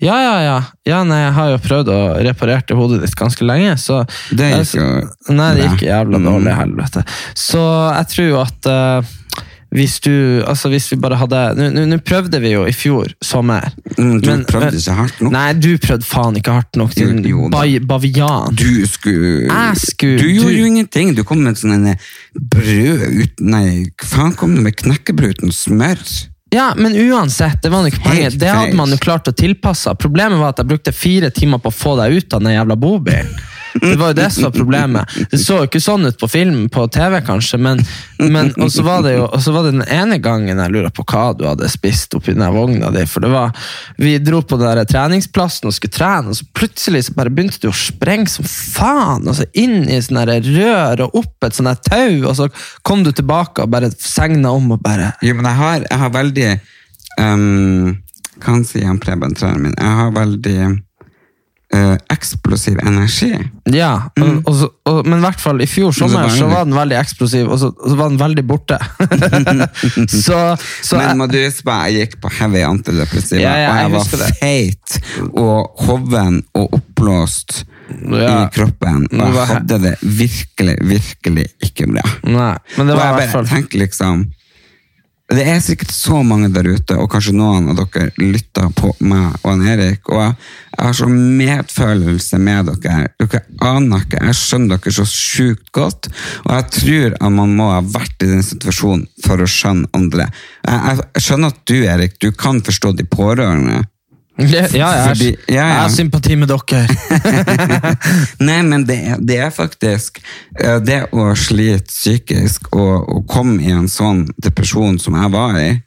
Speaker 2: ja, ja, ja. ja nei, jeg har jo prøvd å reparere det hodet ditt ganske lenge, så Altså,
Speaker 1: Det gikk jo
Speaker 2: Nei, det
Speaker 1: bra. Mm.
Speaker 2: gikk jævla dårlig, helvete. Så jeg tror jo at eh, hvis du Altså, hvis vi bare hadde Nå- Nå nå prøvde vi jo i fjor sommer.
Speaker 1: Mm, du prøvde ikke hardt nok.
Speaker 2: Nei, du prøvde faen ikke hardt nok til
Speaker 1: Jo, jo da.
Speaker 2: bai- bavian.
Speaker 1: Du skulle
Speaker 2: Jeg skulle-
Speaker 1: Du gjorde
Speaker 2: du-
Speaker 1: jo ingenting. Du kom med sånne eh, brød uten Nei, hva faen kom du med knekkebrød uten smør?
Speaker 2: Ja, men uansett, det var jo ikke poenget.
Speaker 1: Helt
Speaker 2: Det hadde
Speaker 1: feil.
Speaker 2: man jo klart å tilpasse. Problemet var at jeg brukte fire timer på å få deg ut av den jævla bobilen. Det var jo det som var problemet. Det så jo ikke sånn ut på film, på TV kanskje, men, men og så var det jo og så var det den ene gangen jeg lurer på hva du hadde spist oppi den der vogna di, for det var Vi dro på den der treningsplassen og skulle trene, og så plutselig så bare begynte du å sprenge som faen, og så inn i sånne der rør og opp et sånt der tau, og så kom du tilbake og bare segna om og bare
Speaker 1: Jo, men jeg har, jeg har veldig um, Hva han sier han Preben, treneren min? Jeg har veldig eh, eksplosiv energi.
Speaker 2: Ja, og, og, så- og, men i hvert fall i fjor sommer
Speaker 1: Men Mm. så var den litt-
Speaker 2: så var den veldig eksplosiv, og så, og så var den veldig borte.
Speaker 1: <laughs>
Speaker 2: så så jeg,
Speaker 1: men må du huske på, jeg gikk på heavy antidepressiva,
Speaker 2: Ja, ja, jeg
Speaker 1: og jeg
Speaker 2: husker
Speaker 1: var
Speaker 2: det.
Speaker 1: feit og hoven og oppblåst
Speaker 2: Ja.
Speaker 1: i kroppen. Og
Speaker 2: Det var-
Speaker 1: jeg hadde det virkelig, virkelig ikke bra.
Speaker 2: Nei, men det
Speaker 1: Og
Speaker 2: var i
Speaker 1: jeg bare
Speaker 2: hvert fall
Speaker 1: tenker liksom Det er sikkert så mange der ute, og kanskje noen av dere lytter på meg og han Erik, og jeg har så medfølelse med dere. Dere aner ikke. Jeg skjønner dere så sjukt godt, og jeg tror at man må ha vært i den situasjonen for å skjønne andre. Jeg, jeg skjønner at du, Erik, du kan forstå de pårørende.
Speaker 2: Ja, jeg,
Speaker 1: Fordi-
Speaker 2: er-
Speaker 1: ja, ja.
Speaker 2: jeg har sympati med dere.
Speaker 1: Nei, men det, er- det er faktisk eh, det å slite psykisk og, og komme i en sånn depresjon som jeg var i.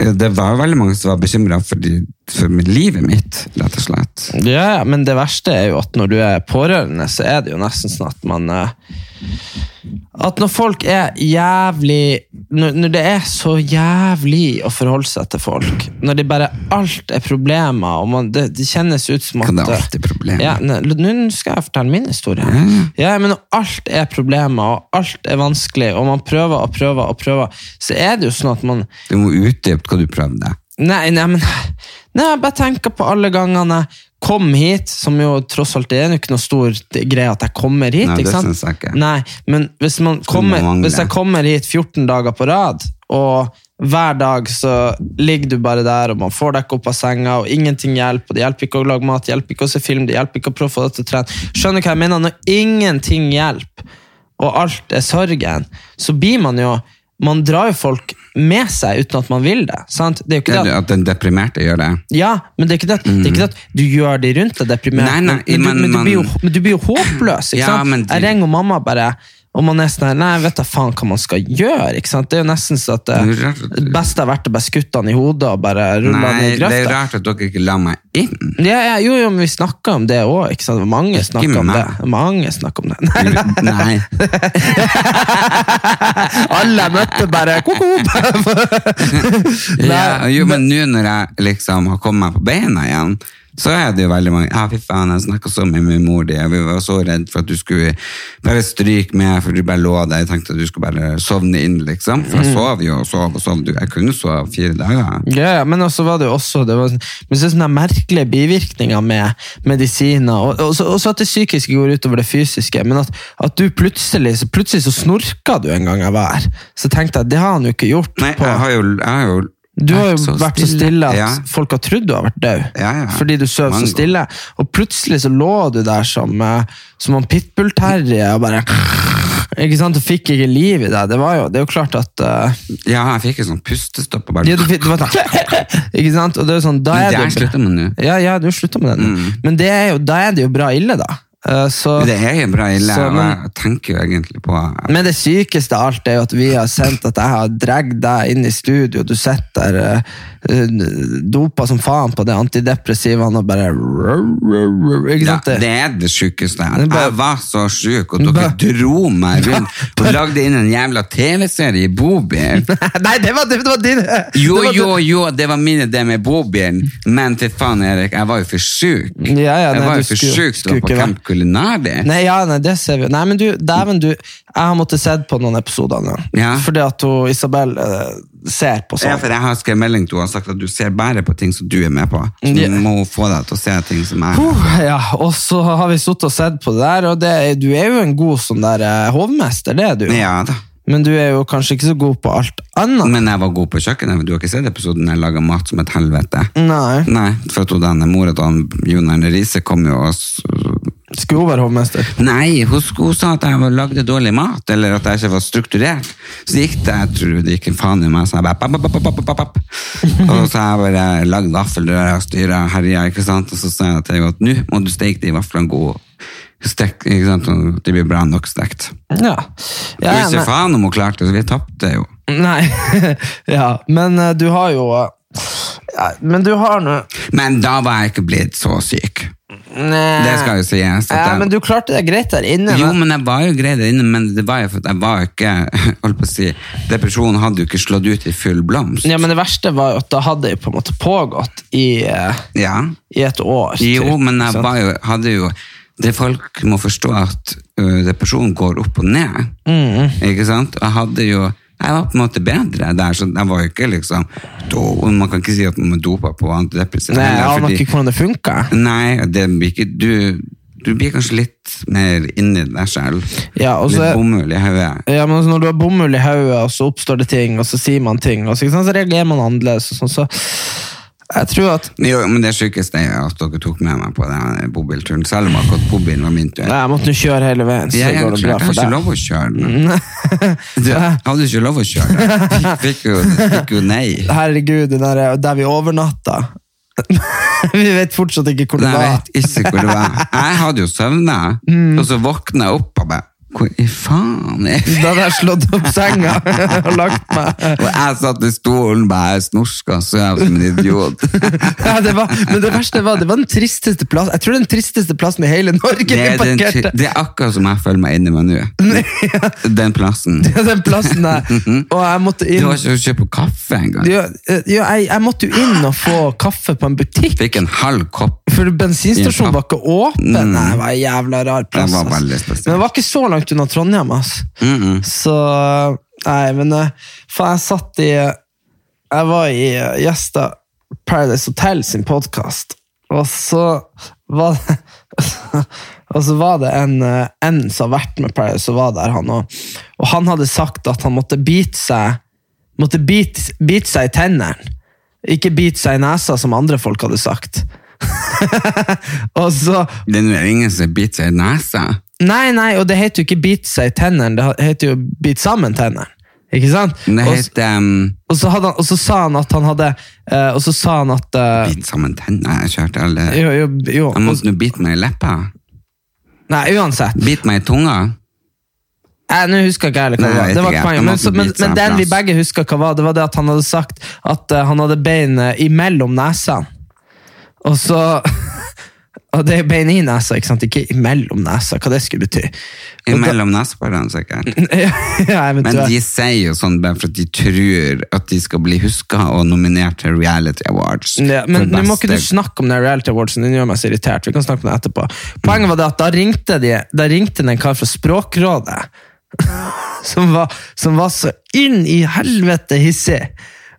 Speaker 1: eh, Det var veldig mange som var bekymra for, de- for livet mitt, rett og slett.
Speaker 2: Ja, ja, men det verste er jo at når du er pårørende, så er det jo nesten sånn at man eh, At når folk er jævlig når, når det er så jævlig å forholde seg til folk, når det bare alt er problemer, og man, det, det kjennes ut som at
Speaker 1: Kan det alltid problemer?
Speaker 2: Ja, ne- Nå skal jeg fortelle min historie. Ja, men når alt er problemer, og alt er vanskelig, og man prøver og prøver og prøver, så er det jo sånn at man
Speaker 1: Du må utdype hva du prøvde.
Speaker 2: Nei, nei, men nei, jeg bare tenker på alle gangene jeg kom hit, som jo tross alt det er jo ikke noe stor greie at jeg kommer hit.
Speaker 1: Nei, det
Speaker 2: ikke sant?
Speaker 1: synes jeg ikke.
Speaker 2: Nei, men hvis, man kommer,
Speaker 1: mangler.
Speaker 2: hvis jeg kommer hit 14 dager på rad, og hver dag så ligger du bare der, og man får deg ikke opp av senga, og ingenting hjelper, og det hjelper ikke å lage mat, det hjelper ikke å se film, det hjelper ikke å prøve å få deg til å trene. Skjønner du hva jeg mener? Når ingenting hjelper, og alt er sorgen, så blir man jo man drar jo folk med seg uten at man vil det. sant? Det er jo ikke
Speaker 1: Det
Speaker 2: det at
Speaker 1: er at den deprimerte gjør det.
Speaker 2: ja, men det er ikke det, at- det er ikke det at du gjør de rundt deg deprimert.
Speaker 1: Mm. Nei, nei,
Speaker 2: men, men,
Speaker 1: men
Speaker 2: du, men, du
Speaker 1: man-
Speaker 2: blir jo, men du blir jo håpløs. ikke
Speaker 1: Ja,
Speaker 2: sant?
Speaker 1: men det-
Speaker 2: Jeg ringer mamma bare, og man er sånn her, Nei, jeg vet da faen hva man skal gjøre. ikke sant? Det er jo nesten så at eh,
Speaker 1: Det er rart at
Speaker 2: det
Speaker 1: du-
Speaker 2: beste har vært å bare skutte han i hodet og bare rulle han
Speaker 1: Nei,
Speaker 2: i
Speaker 1: det er
Speaker 2: grøfta.
Speaker 1: rart at dere ikke la meg
Speaker 2: <laughs>
Speaker 1: inn.
Speaker 2: Ja, ja, jo, jo, men vi snakka om det òg. Mange snakka om det.
Speaker 1: meg.
Speaker 2: Mange snakket om det. <laughs> Nei,
Speaker 1: Nei.
Speaker 2: alle jeg møtte, bare ko-ko!
Speaker 1: Ja, jo, men nå når jeg liksom har kommet meg på beina igjen, så er det jo veldig mange Ja, fy faen, jeg snakka så mye med mor di, og vi var så redd for at du skulle bare stryke med, for du bare lå der. Jeg tenkte at du skulle bare sovne inn, liksom. For
Speaker 2: Mm.
Speaker 1: jeg sov jo og sov og sov. Du, Jeg kunne sove fire dager.
Speaker 2: Ja, ja, men også var det jo også det var, men så er det sånne merkelige bivirkninger med medisiner, og, og, så- og så at det psykiske går utover det fysiske, men at, at du plutselig, så plutselig så snorka du en gang jeg var her, så tenkte jeg, det har han jo ikke gjort
Speaker 1: Nei,
Speaker 2: på.
Speaker 1: jeg har jo, jeg har jo
Speaker 2: Du har jo vært så stille at
Speaker 1: Ja.
Speaker 2: folk har trodd du har vært død.
Speaker 1: Ja, ja.
Speaker 2: Fordi du søv så
Speaker 1: Mango.
Speaker 2: stille. Og plutselig så lå du der som, eh, som en pitbull-terrier og bare ikke sant? Du fikk ikke liv i deg. Det, var jo, det er jo klart at eh,
Speaker 1: Ja, jeg fikk en sånn pustestopp. Og bare,
Speaker 2: ja, du, fikk- du var sånn, <laughs> ikke sant? Og det er jo sånn, da
Speaker 1: Men
Speaker 2: er
Speaker 1: det er
Speaker 2: det jo-
Speaker 1: slutta med nå.
Speaker 2: Ja, ja, du slutta med det nå. Men det er jo, da er det jo bra ille, da. Eh, så,
Speaker 1: Mm. Det er jo bra ille,
Speaker 2: Så,
Speaker 1: og
Speaker 2: men-
Speaker 1: jeg tenker jo egentlig på
Speaker 2: men det sykeste av alt er jo at vi har sendt at jeg har dratt deg inn i studio, du sitter der eh, eh, dopa som faen på det antidepressivaen og bare Ikke
Speaker 1: ja,
Speaker 2: sant?
Speaker 1: det er det sjukeste.
Speaker 2: Det er bare-
Speaker 1: Jeg var så sjuk, og
Speaker 2: Bare-
Speaker 1: dere dro
Speaker 2: <laughs>
Speaker 1: meg rundt og lagde inn en jævla TV-serie i bobil.
Speaker 2: <laughs> <laughs> Nei, det var, det var din!
Speaker 1: Jo,
Speaker 2: det var
Speaker 1: jo, jo, det var min idé med bobilen, men til faen, Erik, jeg var jo for sjuk.
Speaker 2: Ja, ja,
Speaker 1: jeg
Speaker 2: nei,
Speaker 1: var
Speaker 2: du
Speaker 1: jo for
Speaker 2: skulle-
Speaker 1: sjuk til å
Speaker 2: skulle
Speaker 1: være på
Speaker 2: ikke
Speaker 1: Camp Culinari.
Speaker 2: Nei, ja, nei, det ser vi jo. Nei, men du, dæven du, jeg har måttet sett på noen episoder nå.
Speaker 1: Ja.
Speaker 2: Fordi at hun, Isabel eh, ser på
Speaker 1: Ja,
Speaker 2: sånn.
Speaker 1: for jeg har skrevet melding til henne og sagt at du ser bare på ting som du er med på. Så
Speaker 2: Ja.
Speaker 1: må hun få deg til å se ting som jeg
Speaker 2: Puh, ja, og så har vi suttet og sett på det der, og det, er- du er jo en god sånn der eh, hovmester, det er du.
Speaker 1: Ja da.
Speaker 2: Men du er jo kanskje ikke så god på alt annet.
Speaker 1: Men jeg var god på kjøkkenet. Du har ikke sett episoden der jeg laga mat som et helvete?
Speaker 2: Nei,
Speaker 1: Nei, for at hun denne mora til han, Jon Arne Riise kom jo og s-
Speaker 2: skulle hun være hovmester?
Speaker 1: Nei, hun, sk- hun sa at jeg var- lagde dårlig mat, eller at jeg ikke var strukturert. Så gikk det, jeg tror det gikk en faen i meg, så jeg bare papp, papp, papp, papp, papp, papp. Og så har jeg bare lagd vaffelrør og styret herja, ikke sant? Og så sa jeg til henne at nå må du steke de vaflene gode. Stek, ikke sant? Og De blir bra nok stekt.
Speaker 2: Ja.
Speaker 1: Ja,
Speaker 2: ja
Speaker 1: ikke faen om hun klarte det, så vi tapte jo.
Speaker 2: men, nei, <laughs> ja, men eh, du har jo... eh, Ja, men du har nå...
Speaker 1: Men da var jeg ikke blitt så syk.
Speaker 2: Nei.
Speaker 1: Det skal jo sies. at
Speaker 2: Ja,
Speaker 1: jeg-
Speaker 2: men du klarte det greit der inne.
Speaker 1: Jo,
Speaker 2: men-
Speaker 1: men jeg var jo grei der inne, men det var jo for at jeg var ikke <laughs> holdt på å si, Depresjonen hadde jo ikke slått ut i full blomst.
Speaker 2: Ja, men det verste var jo at da hadde jeg på en måte pågått i, eh,
Speaker 1: Ja.
Speaker 2: i et år.
Speaker 1: Jo,
Speaker 2: typ,
Speaker 1: men
Speaker 2: ikke
Speaker 1: jeg
Speaker 2: sant?
Speaker 1: var jo, hadde jo det Folk må forstå at ø, depresjon går opp og ned.
Speaker 2: Mm.
Speaker 1: Ikke sant? Jeg hadde jo jeg var på en måte bedre der, så jeg var jo ikke liksom do, Man kan ikke si at man er dopa på antidepressiva.
Speaker 2: Nei, jeg
Speaker 1: heller,
Speaker 2: aner
Speaker 1: fordi-
Speaker 2: ikke hvordan det funka.
Speaker 1: Nei, det blir ikke du, du blir kanskje litt mer inni deg sjøl.
Speaker 2: Ja, og så-
Speaker 1: litt bomull i hodet.
Speaker 2: Ja, men altså, når du har bomull i hodet, og så oppstår det ting, og så sier man ting, og så, ikke sant, så reagerer man annerledes. Og sånn, så jeg tror at
Speaker 1: Jo, men det sykeste er at dere tok med meg på den bobilturen, selv om akkurat bobilen var min tur.
Speaker 2: Nei, jeg måtte nå kjøre hele veien, så
Speaker 1: Jeg, jeg,
Speaker 2: går det
Speaker 1: jeg
Speaker 2: bra
Speaker 1: har
Speaker 2: for
Speaker 1: ikke
Speaker 2: deg. Mm.
Speaker 1: lov å kjøre den.
Speaker 2: <laughs>
Speaker 1: Du, jeg hadde ikke lov å kjøre den. Fikk, fikk, jo, fikk jo nei. Nei,
Speaker 2: Herregud, den der, der vi overnatta <laughs> Vi vet fortsatt ikke hvor det
Speaker 1: Jeg
Speaker 2: var. Mm.
Speaker 1: vet ikke hvor det var. Jeg hadde jo søvna, og så våkna jeg opp og bare Hvor i faen er jeg?
Speaker 2: Da hadde jeg slått opp
Speaker 1: <laughs>
Speaker 2: senga <laughs> og lagt meg.
Speaker 1: Og jeg satt i stolen, bare jeg snorska så jeg som en
Speaker 2: <laughs>
Speaker 1: idiot.
Speaker 2: Ja, det var, men det verste var, det var den tristeste plassen Jeg tror den tristeste plassen i hele Norge
Speaker 1: Det er, den,
Speaker 2: parkerte. <laughs>
Speaker 1: det er akkurat som jeg føler meg inni meg nå. Den plassen.
Speaker 2: Ja, den plassen
Speaker 1: <laughs>
Speaker 2: der. Og jeg måtte
Speaker 1: Du
Speaker 2: inn
Speaker 1: har ikke kjøpt kaffe engang.
Speaker 2: jo, eh, jo, jeg, jeg måtte jo inn og få kaffe på en butikk.
Speaker 1: Fikk en halv kopp.
Speaker 2: For bensinstasjonen var ikke åpen.
Speaker 1: Mm.
Speaker 2: Nei, det var en jævla rar plass.
Speaker 1: Det var
Speaker 2: ass.
Speaker 1: veldig spesielt.
Speaker 2: Men det var ikke så langt unna Trondheim, ass.
Speaker 1: Mm -mm.
Speaker 2: Så Nei, men eh, faen, jeg satt i Jeg var i eh, Gjesta Paradise Hotel sin podkast, og så var det <laughs> Og så var det en, eh, en som har vært med Paradise, som var der, han òg. Og han hadde sagt at han måtte bite seg Måtte bite, bite seg i tennene. Ikke bite seg i nesa, som andre folk hadde sagt. <laughs> og så
Speaker 1: Det er nå ingen som biter seg i nesa.
Speaker 2: Nei, nei, og det heter jo ikke bite seg i tennene, det heter jo bite sammen tennene. Ikke sant?
Speaker 1: Men Det
Speaker 2: Og s-
Speaker 1: heter um,
Speaker 2: og, så hadde han, og så sa han at han hadde eh, Og så sa han at eh,
Speaker 1: Bit sammen tenner. Jeg kjørte alle
Speaker 2: Jo, jo, jo.
Speaker 1: Jeg måtte nå bite meg i leppa.
Speaker 2: Nei, uansett.
Speaker 1: Bite meg i tunga.
Speaker 2: Eh, Nå husker ikke jeg heller hva
Speaker 1: Nei, jeg
Speaker 2: det var.
Speaker 1: vet
Speaker 2: Det
Speaker 1: ikke,
Speaker 2: var ikke
Speaker 1: jeg
Speaker 2: poenget.
Speaker 1: må
Speaker 2: Men,
Speaker 1: ikke
Speaker 2: så, men,
Speaker 1: bite seg
Speaker 2: men
Speaker 1: en
Speaker 2: den vi
Speaker 1: plass.
Speaker 2: begge husker hva var, det var det at han hadde sagt at eh, han hadde beinet imellom nesene. Og så <laughs> Og det er bein i nesa, ikke sant? Ikke imellom nesa, hva det skulle bety. Og da-
Speaker 1: Imellom neseborene, sikkert.
Speaker 2: <laughs> ja,
Speaker 1: Men
Speaker 2: eventuelt.
Speaker 1: de sier jo sånn bare for at de tror at de skal bli huska og nominert til Reality Awards.
Speaker 2: Ja,
Speaker 1: For
Speaker 2: men nå må ikke du
Speaker 1: beste-
Speaker 2: snakke om den reality awardsen, den gjør meg så irritert. Vi kan snakke om det etterpå. Poenget var det at da ringte de, da ringte det en kar fra Språkrådet, <laughs> som var, som var så inn i helvete hissig,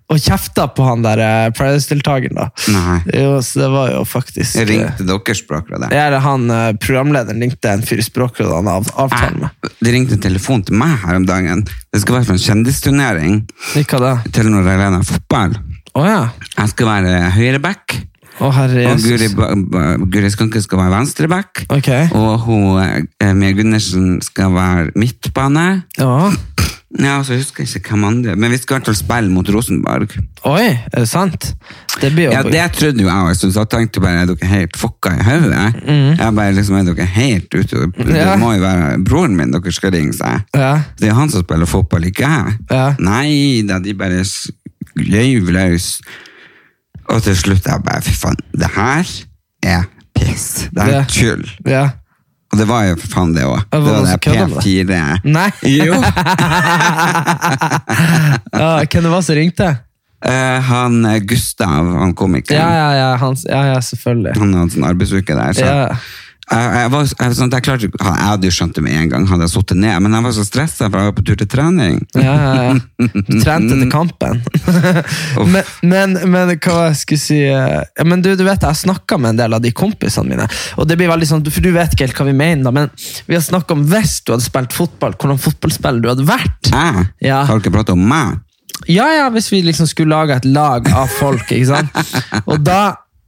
Speaker 2: og kjefta på han der eh, Paradise-deltakeren da.
Speaker 1: Nei.
Speaker 2: Jo, så det var jo faktisk...
Speaker 1: Ringte dere språkrådet?
Speaker 2: Ja, eller han, eh, programlederen ringte en fyr i Språkrådet han av, avtalen med.
Speaker 1: Jeg- Det ringte en telefon til meg her om dagen. Det skal være for en kjendisturnering.
Speaker 2: Ikke det.
Speaker 1: Telenor Arena fotball.
Speaker 2: Åja.
Speaker 1: Jeg skal være høyreback.
Speaker 2: Å, herre
Speaker 1: Og Guri,
Speaker 2: Jesus.
Speaker 1: Ba- Ba- Guri Skanke skal være venstreback.
Speaker 2: Ok.
Speaker 1: Og hun, eh, Mia Gundersen skal være midtbane.
Speaker 2: Ja.
Speaker 1: Ja, og så husker jeg ikke hvem andre. Men vi skal i hvert fall spille mot Rosenborg.
Speaker 2: Oi, er det sant? Det blir jo...
Speaker 1: Ja, det trodde jo jeg også. Så jeg tenkte bare, er dere helt fucka i hodet? Jeg bare liksom, er dere helt ute?
Speaker 2: Mm. Ja.
Speaker 1: Det må jo være broren min dere skal ringe seg.
Speaker 2: Ja.
Speaker 1: Det er han som spiller fotball, ikke jeg.
Speaker 2: Ja.
Speaker 1: Nei da, de bare s- løyv løs. Og til slutt jeg bare Fy faen, det her er piss. Det her er
Speaker 2: Ja.
Speaker 1: tull.
Speaker 2: Ja.
Speaker 1: Og det var jo for faen det òg.
Speaker 2: Ja,
Speaker 1: Det
Speaker 2: var
Speaker 1: var
Speaker 2: det
Speaker 1: det
Speaker 2: som kødda
Speaker 1: P4.
Speaker 2: med Nei.
Speaker 1: Jo.
Speaker 2: <laughs> Ja, hvem det var som ringte?
Speaker 1: Eh, han eh, Gustav, han komikeren,
Speaker 2: Ja, ja, ja, hans, ja, ja selvfølgelig.
Speaker 1: han hadde sånn arbeidsuke der. Så.
Speaker 2: Ja.
Speaker 1: Jeg, jeg, var, jeg, var sånn, at jeg, klarte, ikke- jeg hadde jo skjønt det med en gang, hadde jeg sittet ned, men jeg var så stressa, for jeg var på tur til trening.
Speaker 2: Ja, ja, ja. Du trente til kampen. <laughs> men, men, men hva jeg skulle si eh, ja, Men du, du vet, Jeg snakka med en del av de kompisene mine. Og det blir veldig sånn, For du vet ikke helt hva vi mener, da, men vi har snakka om hvis du hadde spilt fotball, hvordan fotballspiller du hadde vært.
Speaker 1: Jeg?
Speaker 2: Ja.
Speaker 1: Har dere pratet om meg?
Speaker 2: Ja, ja, hvis vi liksom skulle lage et lag av folk, ikke
Speaker 1: <laughs>
Speaker 2: sant? Og da,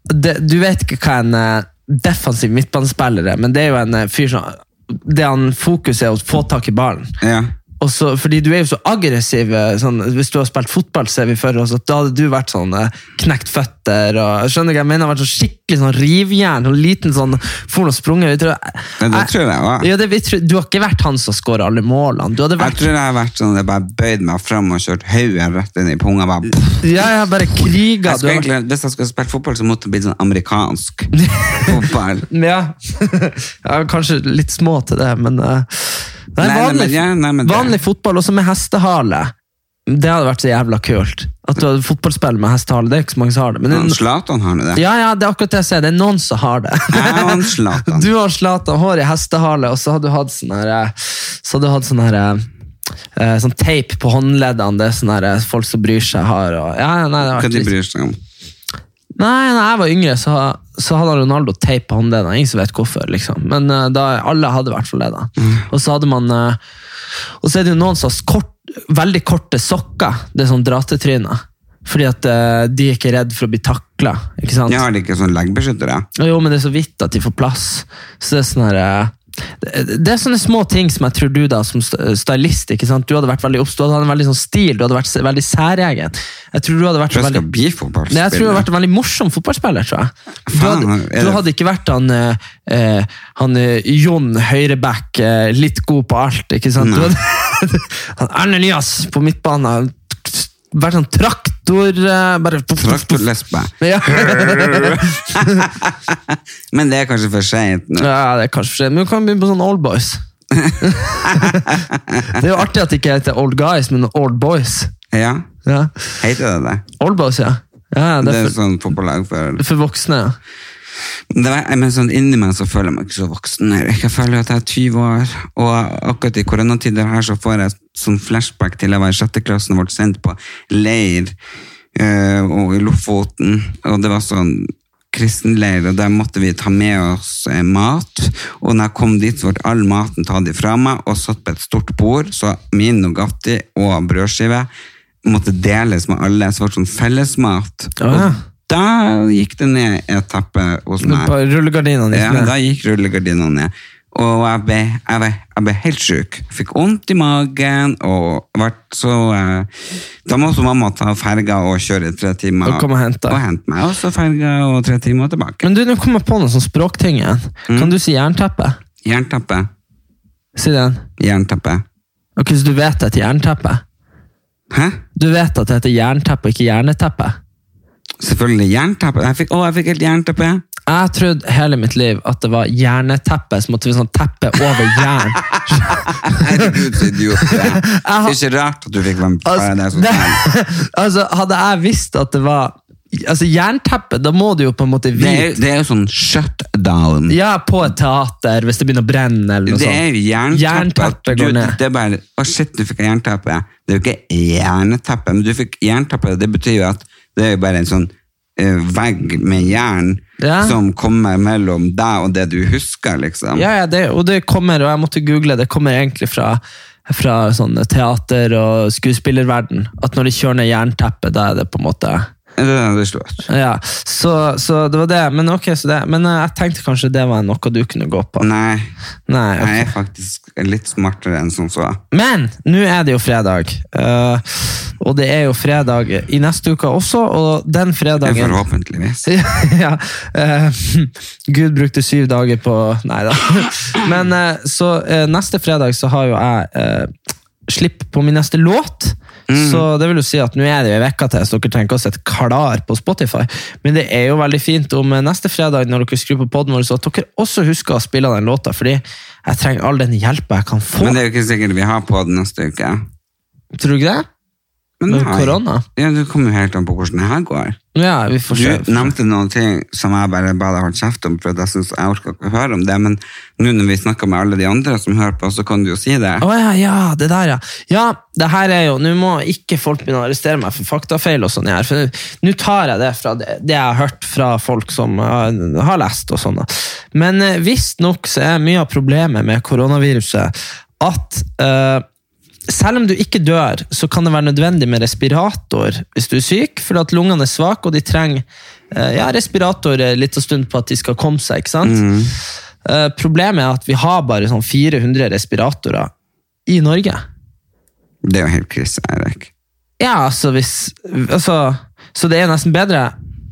Speaker 2: det, du vet ikke hva en eh, defensiv midtbanespiller er, men det er jo en eh, fyr som det han fokuset er å få tak i ballen.
Speaker 1: Ja.
Speaker 2: Og så, fordi du er jo så aggressiv. eh, Sånn, hvis du har spilt fotball, ser vi for oss at da hadde du vært sånn eh, knekt føtter og skjønner du hva jeg mener, vært sånn skikkelig sånn rivjern og liten sånn for noe sprunget. Jeg tror,
Speaker 1: Men det tror jeg også.
Speaker 2: Ja, det, vi tror, du har ikke vært han som skårer alle målene. Du hadde
Speaker 1: Jeg
Speaker 2: vært
Speaker 1: tror jeg har vært sånn at jeg bare bøyd meg fram og kjørt hodet rett inn i punga. Bare, pff.
Speaker 2: ja, ja, bare kriga.
Speaker 1: jeg
Speaker 2: Du
Speaker 1: skulle
Speaker 2: har vært
Speaker 1: egentlig, hvis jeg skulle spilt fotball, så måtte det blitt sånn
Speaker 2: <laughs>
Speaker 1: amerikansk fotball.
Speaker 2: Ja. <laughs> Jeg er kanskje litt små til det, men eh, nei,
Speaker 1: Nei, nei,
Speaker 2: vanlig,
Speaker 1: men ja, nei, men det-
Speaker 2: vanlig fotball, også med hestehale. Det hadde vært så jævla kult. At du hadde fotballspill med hestehale. Det er ikke så mange som har det. Men det,
Speaker 1: Han
Speaker 2: er no-
Speaker 1: Zlatan har nå det.
Speaker 2: ja, ja, det er akkurat det jeg sier. Det er noen som har det.
Speaker 1: Jeg og
Speaker 2: <laughs>
Speaker 1: han Zlatan.
Speaker 2: Du har Zlatan, hår i hestehale, og så har du hatt sånn her eh, Så har du hatt sånn her eh, eh, Sånn teip på håndleddene. Det er sånn her eh, folk som bryr seg, har og ja, ja, nei, det
Speaker 1: Hva
Speaker 2: har vært
Speaker 1: de
Speaker 2: litt-
Speaker 1: bryr seg om.
Speaker 2: Nei, når jeg var yngre, så, så hadde Ronaldo teip på håndleddene. Ingen som vet hvorfor, liksom. Men eh, da, alle hadde i hvert fall det. da.
Speaker 1: Mm.
Speaker 2: Og så hadde man... eh, og så er det jo noen som har kort, veldig korte sokker. Det er sånn dratetryner. Fordi at eh, de er ikke redd for å bli takla. ikke sant?
Speaker 1: Jeg har ikke sånn leggbeskyttere.
Speaker 2: Og Jo, men det er så vidt at de får plass. Så det er sånn her eh, det det er sånne små ting som jeg tror du da, som st- stylist ikke sant? Du hadde vært veldig obs, du hadde hatt en veldig sånn stil, du hadde vært se- veldig særegen. Jeg tror du hadde vært
Speaker 1: For jeg
Speaker 2: veldig...
Speaker 1: skal bli
Speaker 2: Nei, jeg tror du hadde
Speaker 1: fotballspiller.
Speaker 2: vært en veldig morsom fotballspiller, tror jeg. Du
Speaker 1: Faen,
Speaker 2: hadde,
Speaker 1: er det-
Speaker 2: du hadde ikke vært han, eh, eh, han eh, Jon Høyrebekk, eh, litt god på alt, ikke sant? Du hadde, <laughs> han Erne Elias på midtbanen, vært sånn traktor... eh, Bare...
Speaker 1: Traktorlesbe.
Speaker 2: <laughs> Ja.
Speaker 1: Men det er kanskje for seint nå.
Speaker 2: Ja, det er kanskje for sent, men du kan begynne på sånn old boys. <laughs> det er jo artig at det ikke heter old guys, men old boys.
Speaker 1: Ja,
Speaker 2: Ja.
Speaker 1: heter det det?
Speaker 2: Old boys, ja. ja
Speaker 1: Det
Speaker 2: det er
Speaker 1: er
Speaker 2: for,
Speaker 1: sånn fotballag for
Speaker 2: det er for voksne. ja.
Speaker 1: det var, men sånn Inni meg så føler jeg meg ikke så voksen. her. Jeg føler at jeg er 20 år, og akkurat i koronatider her så får jeg sånn flashback til jeg var i sjette klassen og ble sendt på leir eh, og i Lofoten. Og det var sånn kristenleir, og der måtte vi ta med oss eh, mat. Og når jeg kom dit, så ble all maten tatt ifra meg og satt på et stort bord. Så min Nugatti og brødskive måtte deles med alle. Så det ble sånn fellesmat.
Speaker 2: Ah.
Speaker 1: Og da gikk det ned et teppe hos meg.
Speaker 2: På rullegardinene.
Speaker 1: Ja,
Speaker 2: liksom.
Speaker 1: da gikk rullegardinene ned. Og jeg ble, jeg ble, jeg ble helt syk. Fikk vondt i magen, og ble så eh, Da måtte mamma ta ferga og kjøre tre timer.
Speaker 2: Og komme og hente deg.
Speaker 1: Og hente meg. Og så ferga og tre timer tilbake.
Speaker 2: Men du, nå kommer jeg på noen sånn språkting igjen.
Speaker 1: Mm.
Speaker 2: Kan du si jernteppe?
Speaker 1: Jernteppe.
Speaker 2: Si den.
Speaker 1: Jernteppe.
Speaker 2: Ok, så du vet at det heter jernteppe?
Speaker 1: Hæ?
Speaker 2: Du vet at det heter jernteppe, ikke jerneteppe?
Speaker 1: Selvfølgelig jernteppe. Jeg fikk, å, jeg fikk helt jernteppe.
Speaker 2: Jeg trodde hele mitt liv at det var jerneteppe, så måtte vi sånn teppe over
Speaker 1: <laughs>
Speaker 2: jern.
Speaker 1: Herregud, så idiot.
Speaker 2: <laughs>
Speaker 1: du er.
Speaker 2: har-
Speaker 1: Det er ikke rart at du fikk være med på Paradise
Speaker 2: det-
Speaker 1: Hotel. sånn
Speaker 2: <laughs> altså, hadde jeg visst at det var altså, jernteppe, da må du jo på en måte
Speaker 1: Det er,
Speaker 2: vite
Speaker 1: det er jo sånn shutdown.
Speaker 2: Ja, på et teater, hvis det begynner å brenne eller noe
Speaker 1: Det er
Speaker 2: sånt.
Speaker 1: jo jernteppe.
Speaker 2: Jernteppe
Speaker 1: Du,
Speaker 2: går ned.
Speaker 1: det er bare Å, shit, du fikk jernteppe. Det er jo ikke jerneteppe, men du fikk jernteppe. Det betyr jo at det er jo bare en sånn eh, vegg med jern
Speaker 2: Ja.
Speaker 1: som kommer mellom deg og det du husker, liksom.
Speaker 2: Ja, ja, det, og det kommer, og jeg måtte google, det kommer egentlig fra, fra sånn teater- og skuespillerverden, at når de kjører ned jernteppet, da er det på en måte...
Speaker 1: Det er det det slår.
Speaker 2: Ja, så, så det var det. Men ok, så det, men eh, jeg tenkte kanskje det var noe du kunne gå på.
Speaker 1: Nei,
Speaker 2: Nei, ok.
Speaker 1: jeg er faktisk litt smartere enn som så.
Speaker 2: Men nå er det jo fredag, Eh, og det er jo fredag i neste uke også, og den fredagen
Speaker 1: Forhåpentligvis.
Speaker 2: <laughs> ja, eh, Gud brukte syv dager på Nei da. <laughs> Men eh, så eh, neste fredag så har jo jeg eh, slipp på min neste låt.
Speaker 1: Mm.
Speaker 2: Så det vil jo si at nå er det jo ei uke til, så dere trenger ikke å sitte klar på Spotify. Men det er jo veldig fint om eh, neste fredag når dere skrur på podden vår, så at dere også husker å spille den låta, fordi jeg trenger all den hjelpa jeg kan få.
Speaker 1: Men det er jo ikke sikkert vi har på den neste uke.
Speaker 2: Tror du ikke det?
Speaker 1: Men
Speaker 2: Med
Speaker 1: nei.
Speaker 2: korona?
Speaker 1: Ja, Det kommer jo helt an på hvordan det her går.
Speaker 2: Ja, vi får se.
Speaker 1: Du nevnte noen ting som jeg bare ba deg holde kjeft om, for at jeg synes jeg orker ikke å høre om det, men nå når vi snakker med alle de andre som hører på, så kan du jo si det.
Speaker 2: Å ja, ja, det der, ja. Ja, det her er jo Nå må ikke folk begynne å arrestere meg for faktafeil og sånn her, for nå- nå tar jeg det fra det, det jeg har hørt fra folk som eh, har lest og sånn. da. Men eh, visstnok så er mye av problemet med koronaviruset at eh, selv om du ikke dør, så kan det være nødvendig med respirator hvis du er syk, for at lungene er svake, og de trenger eh, ja, respirator eh, litt og stund på at de skal komme seg. ikke sant? Eh, Problemet er at vi har bare sånn 400 respiratorer i Norge.
Speaker 1: Det er jo helt krise, Erik.
Speaker 2: Ja, altså hvis altså, Så det er nesten bedre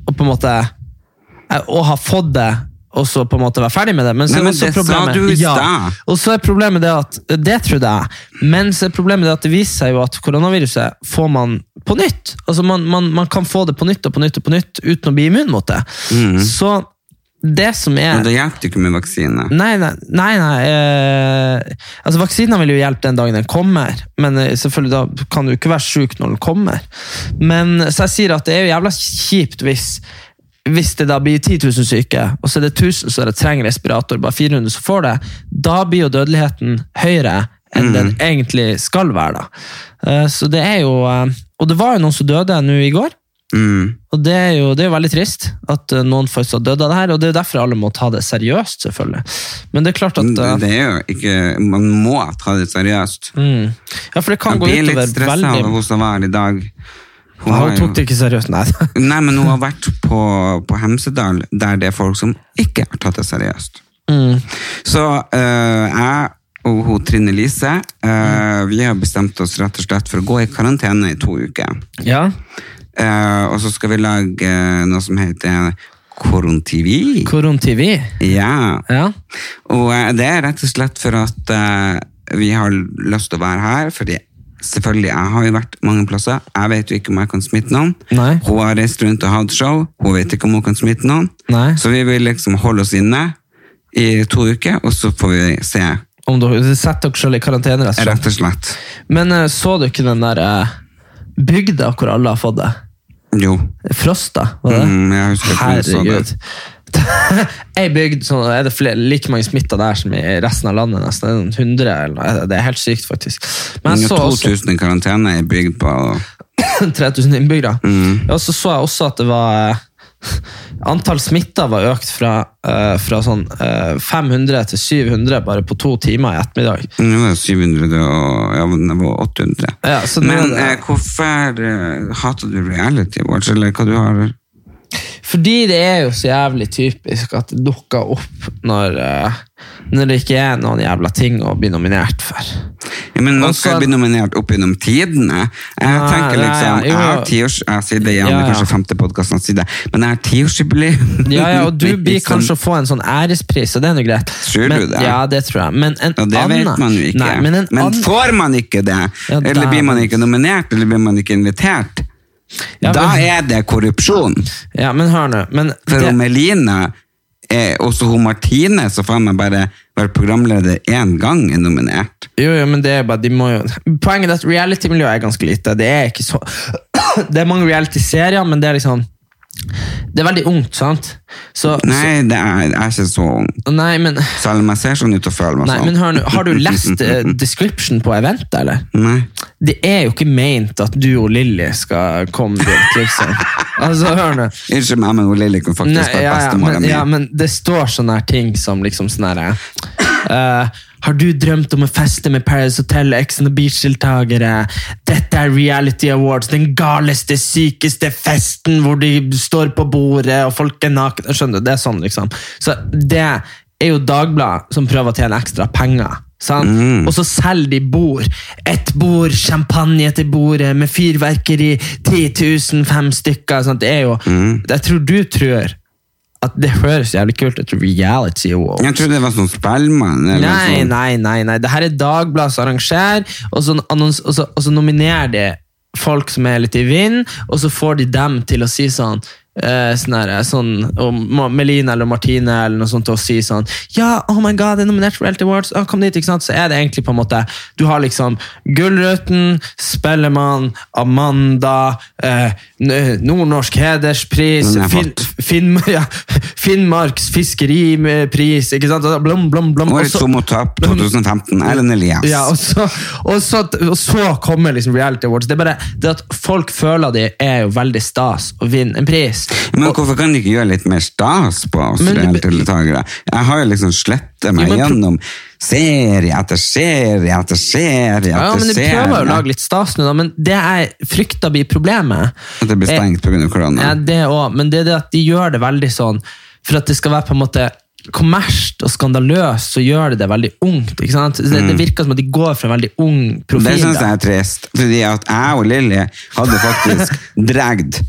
Speaker 2: å på en måte eh, Å ha fått det, og så på en måte være ferdig med det. Men, så
Speaker 1: Nei,
Speaker 2: er
Speaker 1: men
Speaker 2: også
Speaker 1: det sa
Speaker 2: problemet-
Speaker 1: du i
Speaker 2: ja,
Speaker 1: stad.
Speaker 2: Og så er problemet det at Det trodde jeg. Men så er problemet det at det viser seg jo at koronaviruset får man på nytt. Altså Man, man, man kan få det på nytt og på nytt og på nytt uten å bli immun mot det. Så det som er
Speaker 1: Mm. Men det hjelper jo ikke med vaksine.
Speaker 2: Nei, nei, nei, nei eh, altså Vaksinen vil jo hjelpe den dagen den kommer, men eh, selvfølgelig da kan du ikke være syk når den kommer. Men, så jeg sier at det er jo jævla kjipt hvis, hvis det da blir 10 000 syke, og så er det 1000 som trenger respirator, bare 400 som får det. Da blir jo dødeligheten høyere enn den egentlig skal være. da. Eh, Så det er jo eh, Og det var jo noen som døde nå i går.
Speaker 1: Mm.
Speaker 2: Og det er jo det er jo veldig trist at eh, noen faktisk har dødd av det her, og det er jo derfor alle må ta det seriøst, selvfølgelig. Men det er klart at eh,
Speaker 1: Mm, Det er jo ikke, man må ta det seriøst.
Speaker 2: mm, Ja, for det kan
Speaker 1: Jeg
Speaker 2: gå
Speaker 1: blir litt
Speaker 2: utover
Speaker 1: stresset
Speaker 2: veldig
Speaker 1: av hun som var her i dag. Hun
Speaker 2: Ja,
Speaker 1: har
Speaker 2: Hun
Speaker 1: jo-
Speaker 2: tok det ikke seriøst, nei. <laughs>
Speaker 1: Nei, men hun har vært på, på Hemsedal, der det er folk som ikke har tatt det seriøst. Så eh, jeg og hun, Trine Lise eh, vi har bestemt oss rett og slett for å gå i karantene i to uker.
Speaker 2: Ja.
Speaker 1: Eh, og så skal vi lage eh, noe som heter Korontivi.
Speaker 2: Koron-TV.
Speaker 1: Ja.
Speaker 2: Ja.
Speaker 1: Og eh, det er rett og slett for at eh, vi har lyst til å være her, fordi selvfølgelig, jeg har jo vært mange plasser. Jeg vet jo ikke om jeg kan smitte noen.
Speaker 2: Nei.
Speaker 1: Hun har reist rundt og hatt show. Hun vet ikke om hun kan smitte noen.
Speaker 2: Nei.
Speaker 1: Så vi vil liksom holde oss inne i to uker, og så får vi se,
Speaker 2: Om du setter dere selv i karantene. rett og slett.
Speaker 1: rett og slett.
Speaker 2: Men eh, så du ikke den der eh, bygda hvor alle har fått det?
Speaker 1: Jo.
Speaker 2: Frosta, var det?
Speaker 1: Mm, jeg husker ikke om jeg så
Speaker 2: Herregud. <laughs> Ei bygd sånn, er det flere, like mange smitta der som i resten av landet. nesten. Det er noen hundre, eller, det er helt sykt, faktisk. Men jeg så også
Speaker 1: 2000 i karantene er bygd på
Speaker 2: <laughs> 3000 innbyggere.
Speaker 1: Mm.
Speaker 2: Og så så jeg også at det var eh, Antall smitta var økt fra, eh, fra sånn eh, 500 til 700 bare på to timer i ettermiddag.
Speaker 1: Nå er det 700 og ja, men det var 800.
Speaker 2: Ja, så nå er
Speaker 1: men
Speaker 2: det-
Speaker 1: eh, hvorfor eh, hater du reality watch, eller hva du har
Speaker 2: Fordi det er jo så jævlig typisk at det dukker opp når, eh, når det ikke er noen jævla ting å bli nominert for.
Speaker 1: ja, men Nå
Speaker 2: Og
Speaker 1: skal
Speaker 2: så-
Speaker 1: jeg bli nominert opp gjennom tidene. Jeg
Speaker 2: Altså- Nei,
Speaker 1: tenker
Speaker 2: nei,
Speaker 1: liksom,
Speaker 2: jo,
Speaker 1: jeg har
Speaker 2: jo.
Speaker 1: tiårs, jeg sier det igjen,
Speaker 2: Ja, ja.
Speaker 1: kanskje femte podcasten jeg sier det, men jeg har tiårsjubileum.
Speaker 2: Ja, ja,
Speaker 1: <laughs>
Speaker 2: og du blir
Speaker 1: Liksom,
Speaker 2: kanskje å få en sånn ærespris, og det er nå greit.
Speaker 1: Tror
Speaker 2: men,
Speaker 1: du det?
Speaker 2: Ja, det tror jeg. Men en
Speaker 1: ja, det
Speaker 2: annen,
Speaker 1: vet man jo ikke.
Speaker 2: Nei, men
Speaker 1: men
Speaker 2: en annen,
Speaker 1: får man ikke det,
Speaker 2: Ja,
Speaker 1: eller blir man
Speaker 2: dæven.
Speaker 1: ikke nominert, eller blir man ikke invitert,
Speaker 2: Ja,
Speaker 1: da
Speaker 2: men-
Speaker 1: er det korrupsjon.
Speaker 2: ja, men hør nå. Men
Speaker 1: For
Speaker 2: det,
Speaker 1: hun Melina eh, også hun Martine, så faen meg bare vært programleder én gang er nominert.
Speaker 2: Jo, jo, men det er bare, de må jo... Poenget er at reality-miljøet er ganske lite. Det er ikke så... <coughs> Det er mange reality-serier, men det er liksom... Det er veldig ungt, sant? Så,
Speaker 1: Nei, det er, jeg er ikke så ung.
Speaker 2: så, nei men...
Speaker 1: Selv om jeg ser sånn ut og føler meg
Speaker 2: Nei,
Speaker 1: sånn.
Speaker 2: men hør nå, Har du lest eh, description på eventet, eller?
Speaker 1: <laughs> Nei.
Speaker 2: Det er jo ikke meint at du og Lilly skal komme dit,
Speaker 1: <laughs>
Speaker 2: liksom. Altså, hør nå.
Speaker 1: Unnskyld meg, men hun Lilly kunne faktisk
Speaker 2: Nei,
Speaker 1: vært
Speaker 2: ja, ja,
Speaker 1: bestemora
Speaker 2: men,
Speaker 1: mi.
Speaker 2: ja, men det står sånne her ting som liksom sånn her eh, Har du drømt om å feste med Paradise Hotel og Ex on the Beach-deltakere? Dette er Reality Awards, den galeste, sykeste festen hvor de står på bordet og folk er nakne. Skjønner du? Det er sånn, liksom. Så det er jo Dagbladet som prøver å tjene ekstra penger. sant? Og så selger de bord. Ett bord, champagne til bordet med fyrverkeri. 10 000, fem stykker. sant? Det er jo, Jeg tror du tror at det høres jævlig kult ut. Reality wow.
Speaker 1: Jeg trodde det var sånn Spellemann. eller
Speaker 2: Nei,
Speaker 1: sånn.
Speaker 2: nei, nei, nei. Det her er Dagbladet som arrangerer, og så, annons, og, så, og så nominerer de folk som er litt i vind, og så får de dem til å si sånn eh, sånn, her, sånn og Ma- Melina eller Martine eller noe sånt til å si sånn Ja, oh my god, det er nominert for Reality Awards! Å, kom dit, ikke sant? Så er det egentlig på en måte Du har liksom Gullruten, Spellemann, Amanda, eh, N- Nordnorsk hederspris
Speaker 1: Den er
Speaker 2: Finn, Finn, <laughs> ja, Finnmarks fiskeripris, ikke sant? Blom, blom, blom.
Speaker 1: Årets
Speaker 2: og så-
Speaker 1: sommertap 2015. Ellen Elias.
Speaker 2: ja, og så, og så, og så kommer liksom reality awards. Det er bare det at folk føler de er jo veldig stas å vinne en pris.
Speaker 1: men hvorfor kan de ikke gjøre litt mer stas på oss
Speaker 2: Men det-
Speaker 1: reality-deltakere? Jeg har jo liksom slettet meg
Speaker 2: Jo, men-
Speaker 1: gjennom serie etter serie etter serie etter
Speaker 2: Ja, men De
Speaker 1: serie.
Speaker 2: prøver jo å lage litt stas nå, da, men det jeg frykter blir problemet
Speaker 1: At det blir
Speaker 2: er-
Speaker 1: stengt pga. korona.
Speaker 2: Eh, Ja, det også, men det er det at de gjør det veldig sånn For at det skal være på en måte kommersielt og skandaløst, så gjør de det veldig ungt. ikke sant? Det, det virker som at de går for en veldig ung profil.
Speaker 1: Mm. Det syns
Speaker 2: da.
Speaker 1: jeg er trist, fordi at jeg og Lilly hadde
Speaker 2: <laughs>
Speaker 1: faktisk dragd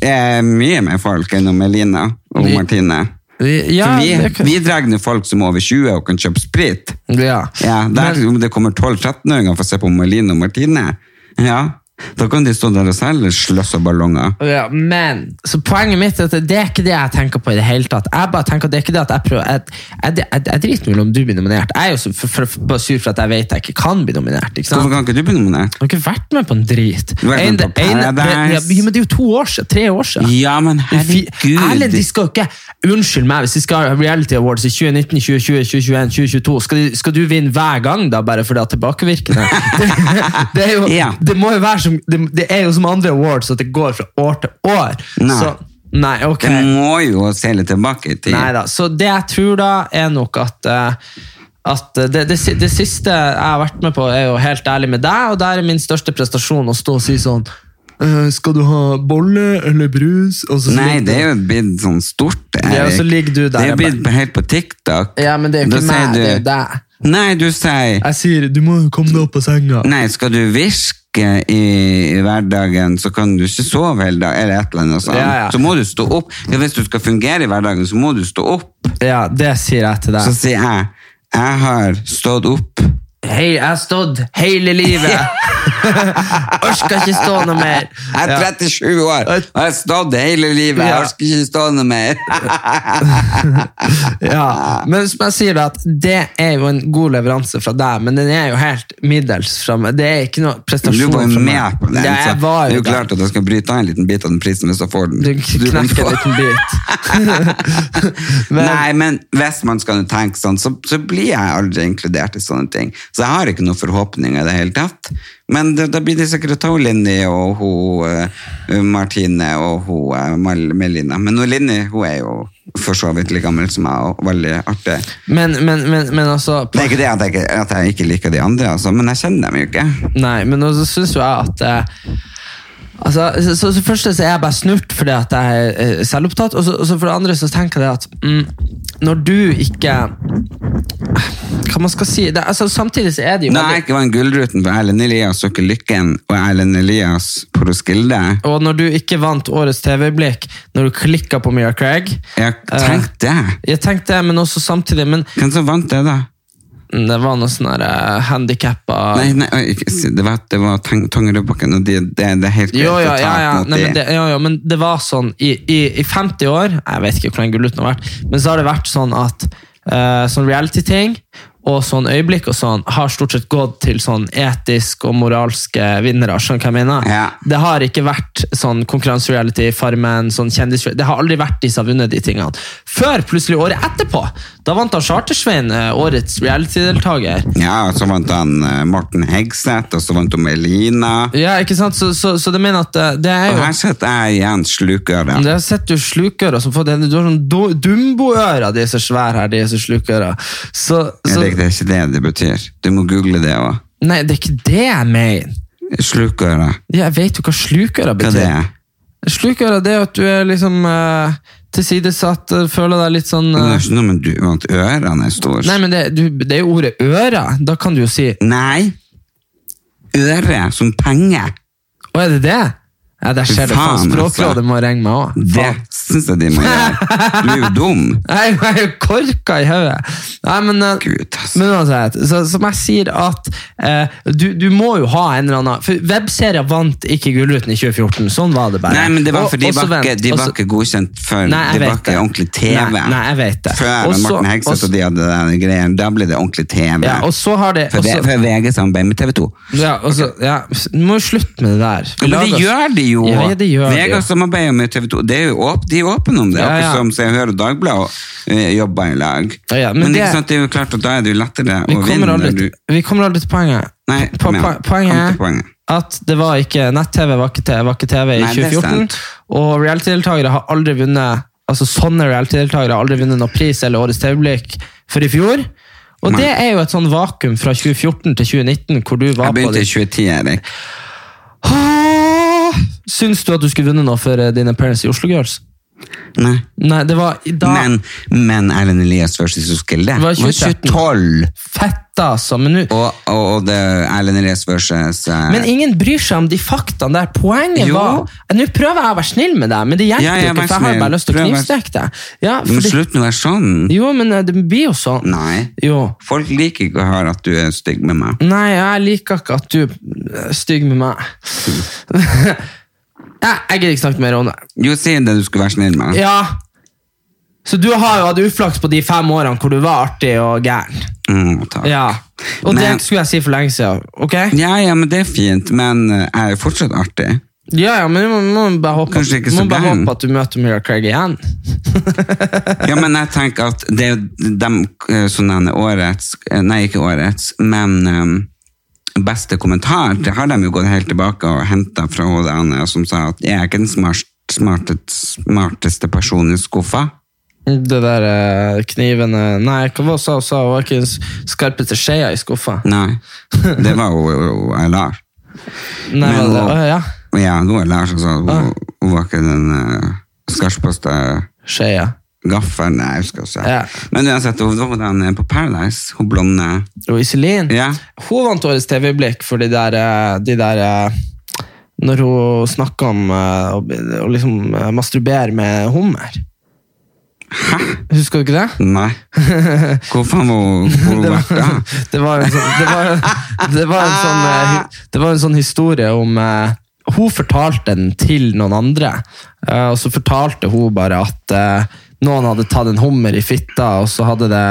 Speaker 1: eh, mye mer folk enn om Elina og
Speaker 2: Vi-
Speaker 1: Martine.
Speaker 2: ja,
Speaker 1: For vi,
Speaker 2: det kan-
Speaker 1: vi drar ned folk som er over 20 og kan kjøpe sprit.
Speaker 2: ja.
Speaker 1: Ja, der, om det kommer 12-13-åringer for å se på Melina og Martine, ja, da kan de stå der og selge sløss og ballonger.
Speaker 2: Ja, men Så poenget mitt er at det er ikke det jeg tenker på i det hele tatt. Jeg bare tenker at det er ikke det at jeg prøver Jeg, jeg, jeg, jeg driter vel om du blir nominert. Jeg er jo så for, for, bare sur for at jeg vet jeg ikke kan bli nominert. ikke sant?
Speaker 1: Hvorfor kan ikke du bli nominert?
Speaker 2: Jeg har ikke vært med på en drit.
Speaker 1: har vært med
Speaker 2: En-
Speaker 1: på
Speaker 2: en-
Speaker 1: Paradise.
Speaker 2: det- ja, men det er jo to år siden. Tre år siden.
Speaker 1: Ja, men
Speaker 2: Fy- Erlend, de skal jo ikke Unnskyld meg, hvis de skal ha Reality Awards i 2019, 2020, 2021, 2022 Skal, de, skal du vinne hver gang, da, bare fordi det er tilbakevirkende? Det, det, er jo,
Speaker 1: Ja.
Speaker 2: det, må jo være som, det, det er jo som andre awards, at det går fra år til år.
Speaker 1: Nei.
Speaker 2: Så, nei, ok.
Speaker 1: Det må jo se litt tilbake i tid.
Speaker 2: Neida. Så det jeg tror da, er nok at eh, at eh, det, det, si- det siste jeg har vært med på, er jo helt ærlig med deg, og der er min største prestasjon å stå og si sånn eh, Skal du ha bolle eller brus? Og så
Speaker 1: Nei,
Speaker 2: ligger
Speaker 1: det er jo blitt sånn stort.
Speaker 2: Ja,
Speaker 1: Erik.
Speaker 2: så ligger du der
Speaker 1: Det er
Speaker 2: og
Speaker 1: jo blitt helt på TikTok.
Speaker 2: Ja, men det er jo
Speaker 1: Da
Speaker 2: ikke
Speaker 1: sier
Speaker 2: meg, det er jo
Speaker 1: du-
Speaker 2: deg.
Speaker 1: Nei, du sier
Speaker 2: Jeg sier du må komme deg opp av senga.
Speaker 1: Nei, skal du virke i hverdagen, så kan du ikke sove hele dagen, eller et eller annet sånt.
Speaker 2: Ja, ja.
Speaker 1: Så må du stå opp. Ja, hvis du skal fungere i hverdagen, så må du stå opp.
Speaker 2: Ja, det sier jeg til
Speaker 1: Så
Speaker 2: deg.
Speaker 1: sier jeg, jeg har stått opp.
Speaker 2: Hei, jeg har stått hele livet.
Speaker 1: <laughs>
Speaker 2: Orker ikke stå noe mer.
Speaker 1: Jeg er 37 år, og jeg har stått hele livet. Jeg
Speaker 2: Ja.
Speaker 1: orker ikke stå noe mer.
Speaker 2: Ja, men som jeg sier da, at det er jo en god leveranse fra deg, men den er jo helt middels fra meg. Det er ikke noe
Speaker 1: Du
Speaker 2: prestasjon
Speaker 1: var
Speaker 2: fra
Speaker 1: jo
Speaker 2: meg.
Speaker 1: med på den,
Speaker 2: Ja,
Speaker 1: så
Speaker 2: jeg
Speaker 1: det
Speaker 2: var
Speaker 1: er
Speaker 2: jo
Speaker 1: jo klart at jeg skal bryte av en liten bit av den prisen hvis jeg får den.
Speaker 2: Du
Speaker 1: Du kan
Speaker 2: knekker
Speaker 1: få-
Speaker 2: en liten bit.
Speaker 1: <laughs>
Speaker 2: <laughs> Men-
Speaker 1: Nei, men hvis man skal tenke sånn, så, så blir jeg aldri inkludert i sånne ting. Så jeg har ikke noen forhåpninger i det hele tatt. Men det, da blir det sikkert hun Linni og hun eh, Martine og hun eh, Mal- Melina. Men hun Linni, hun er jo for så vidt like gammel som meg, og veldig artig.
Speaker 2: Men, men, men, men altså
Speaker 1: Det er ikke det at jeg, ikke- at jeg ikke liker de andre, altså, men jeg kjenner dem jo ikke.
Speaker 2: Nei, men så syns jo jeg at eh, Altså, så, så, så først så er jeg bare snurt fordi at jeg er eh, selvopptatt, og så, og så for det andre så tenker jeg det at mm, når du ikke Hva man skal si det, altså, Samtidig så er det jo
Speaker 1: Når jeg
Speaker 2: veldig-
Speaker 1: ikke vant Gullruten for Erlend Elias og ikke Lykken og Erlend Elias på Roskilde
Speaker 2: Og når du ikke vant årets TV-øyeblikk, når du klikka på Mira Craig
Speaker 1: Jeg
Speaker 2: Eh.
Speaker 1: tenkte det.
Speaker 2: Jeg tenkte det, men også samtidig Men
Speaker 1: Hvem som vant det, da?
Speaker 2: det var noe sånn her uh, handikappa
Speaker 1: Nei, nei, oi, ikke si- det var, det var tang, Tangerudbakken, og det, det, det er helt greit
Speaker 2: Jo, ja,
Speaker 1: å ta
Speaker 2: ja, ja.
Speaker 1: mot
Speaker 2: Nei,
Speaker 1: de.
Speaker 2: men det, ja, ja, men det var sånn i, i, I 50 år Jeg vet ikke hvor lenge Gullruten har vært, men så har det vært sånn at eh, sånn reality-ting og sånn øyeblikk og sånn har stort sett gått til sånn etisk og moralske vinnere. Skjønner du hva jeg mener?
Speaker 1: Ja.
Speaker 2: Det har ikke vært sånn konkurransereality, Farmen, sånn kjendis... Det har aldri vært de som har vunnet de tingene. Før plutselig året etterpå! Da vant han Chartersvein, eh, årets reality-deltaker.
Speaker 1: Ja, og så vant han eh, Morten Hegseth, og så vant hun Melina.
Speaker 2: Ja, ikke sant? Så, så, så det mener at eh, det er
Speaker 1: Og
Speaker 2: jo
Speaker 1: her sitter jeg igjen slukøret.
Speaker 2: Men Jeg har sett jo slukører som får det. Du har sånn du- dumboører, de er så svære her, de er så slukører. Så,
Speaker 1: Ja,
Speaker 2: så
Speaker 1: det, det er ikke det det betyr. Du må google det òg.
Speaker 2: Nei, det er ikke det jeg mener.
Speaker 1: Slukøre.
Speaker 2: Jeg vet jo hva slukører
Speaker 1: Hva det
Speaker 2: betyr.
Speaker 1: er
Speaker 2: Slukører det er at du er liksom eh, tilsidesatt, eh, føler deg litt sånn
Speaker 1: det?
Speaker 2: eh,
Speaker 1: er ikke noe med du, at ørene er store.
Speaker 2: Nei, men det, du, det er jo ordet ører. Da kan du jo si
Speaker 1: Nei. Øre som penger.
Speaker 2: Å, er det det? Ja, der ser du. Faen,
Speaker 1: Faen, altså.
Speaker 2: Språkrådet må ringe meg òg.
Speaker 1: Det syns jeg de
Speaker 2: <laughs>
Speaker 1: må gjøre. Du er jo dum.
Speaker 2: Jeg jeg er jo korka i hodet! Nei, men eh,
Speaker 1: Gud, altså.
Speaker 2: Men uansett, så, som jeg sier at eh, du, du må jo ha en eller annen For webserier vant ikke Gullruten i 2014. Sånn var det bare.
Speaker 1: Nei, men det var
Speaker 2: Og-
Speaker 1: fordi de
Speaker 2: også
Speaker 1: var ikke-
Speaker 2: vent,
Speaker 1: de var
Speaker 2: også-
Speaker 1: ikke godkjent før
Speaker 2: Nei, jeg
Speaker 1: de var
Speaker 2: vet
Speaker 1: ikke
Speaker 2: det.
Speaker 1: ordentlig TV.
Speaker 2: Nei, nei, jeg vet det.
Speaker 1: Før
Speaker 2: Og
Speaker 1: med
Speaker 2: så-
Speaker 1: Morten Hegseth
Speaker 2: og-
Speaker 1: og de hadde den greien, da ble det ordentlig TV.
Speaker 2: ja, og så har det
Speaker 1: for, det,
Speaker 2: også-
Speaker 1: for VG samarbeid med TV 2.
Speaker 2: ja, og så- ja, Du må jo slutte med det der. Vi
Speaker 1: Men det
Speaker 2: lager-
Speaker 1: gjør de jo!
Speaker 2: Ja, det gjør de
Speaker 1: VG
Speaker 2: jo.
Speaker 1: samarbeider med TV 2. Det er jo åp de er åpne om det,
Speaker 2: Ja,
Speaker 1: akkurat
Speaker 2: ja.
Speaker 1: som Se og Hør og Dagbladet eh, jobber i lag.
Speaker 2: Ja, ja, men
Speaker 1: men det,
Speaker 2: det-
Speaker 1: er ikke sant, det er jo klart at da er det jo lettere
Speaker 2: Vi
Speaker 1: å
Speaker 2: kommer,
Speaker 1: vinne.
Speaker 2: aldri,
Speaker 1: når du-
Speaker 2: til- vi kommer aldri til poenget.
Speaker 1: Nei,
Speaker 2: Po
Speaker 1: kom igjen.
Speaker 2: po- poenget
Speaker 1: Kom til
Speaker 2: er
Speaker 1: poenget.
Speaker 2: at det var ikke nett-TV var ikke TV, var ikke TV i
Speaker 1: Nei, det er
Speaker 2: 2014.
Speaker 1: sant.
Speaker 2: Og reality-deltakere har aldri vunnet altså sånne reality-deltakere har aldri vunnet noen pris eller Årets TV-blikk for i fjor. Og det er jo et sånn vakuum fra 2014 til 2019, hvor du var
Speaker 1: Jeg
Speaker 2: på
Speaker 1: begynte i
Speaker 2: det.
Speaker 1: 2010, Erik.
Speaker 2: Ah! Syns du at du skulle vunnet noe for eh, din appearance i Oslo Girls?
Speaker 1: Nei.
Speaker 2: Nei, det var i dag
Speaker 1: Men, men Erlend Elias versus Roskilde
Speaker 2: Var
Speaker 1: var
Speaker 2: 2013.
Speaker 1: 2012.
Speaker 2: Fett, altså! Men, nå-
Speaker 1: Og, og, og det Erlend Elias versus eh,
Speaker 2: men ingen bryr seg om de faktaene der. Poenget
Speaker 1: Jo.
Speaker 2: var Nå prøver jeg å være snill med deg, men det hjelper
Speaker 1: Ja,
Speaker 2: jo
Speaker 1: ja, vær
Speaker 2: ikke, for jeg har
Speaker 1: snill.
Speaker 2: bare lyst til å
Speaker 1: Prøv å være-
Speaker 2: knivstikke deg. Ja,
Speaker 1: Men
Speaker 2: fordi-
Speaker 1: slutt nå å være sånn.
Speaker 2: Jo, men eh, det blir jo sånn.
Speaker 1: Nei.
Speaker 2: Jo.
Speaker 1: Folk liker ikke å høre at du er stygg med meg.
Speaker 2: Nei, jeg liker ikke at du er stygg med meg. <laughs> Nei, jeg gidder ikke snakke mer om det.
Speaker 1: Jo, si det du skulle være snill med.
Speaker 2: Ja. Så du har jo hatt uflaks på de fem årene hvor du var artig og gæren.
Speaker 1: Mm, takk.
Speaker 2: Ja. Og det
Speaker 1: Men-
Speaker 2: skulle jeg si for lenge siden. Ok?
Speaker 1: ja, ja, men det er fint, men eh, jeg er jo fortsatt artig.
Speaker 2: Ja, ja, men du må, må bare håpe,
Speaker 1: Kanskje ikke
Speaker 2: må
Speaker 1: så
Speaker 2: bare
Speaker 1: gæren.
Speaker 2: håpe at du møter Mira Craig igjen.
Speaker 1: Ja, men jeg tenker at det er jo dem eh, som nevner årets, eh, nei, ikke årets, men eh, beste kommentar, det har de jo gått helt tilbake og hentet fra hodet Anne, E, som sa at jeg er ikke den smart, smartet, smarteste personen i skuffa.
Speaker 2: Det der eh, knivene Nei, hva var det hun sa hun? sa? Hun var ikke den skarpeste skjea i skuffa.
Speaker 1: Nei, det var jo jo- jo jeg lar.
Speaker 2: Nei,
Speaker 1: Men-
Speaker 2: var det, Å, ja.
Speaker 1: Ja, nå er Lars altså. Hun, hun var ikke den uh, skarpeste
Speaker 2: Skjeia.
Speaker 1: gaffelen. Nei, jeg husker ikke.
Speaker 2: Ja.
Speaker 1: Men uansett, hun var på, den, eh, på Paradise. Hun blonde.
Speaker 2: Og Iselin.
Speaker 1: Ja.
Speaker 2: Hun vant årets TV-blikk for de der, eh, de der eh, Når hun snakka om eh, å be- å liksom eh, masturbere med hummer. Hæ? Husker du ikke det? <laughs>
Speaker 1: Nei. Hvor faen var hun, hvor hun vært da?
Speaker 2: Det var en sånn, det var, det var en sånn, eh, hi- det var en sånn historie om eh, Hun fortalte den til noen andre, eh, og så fortalte hun bare at eh, noen hadde tatt en hummer i fitta, og så hadde det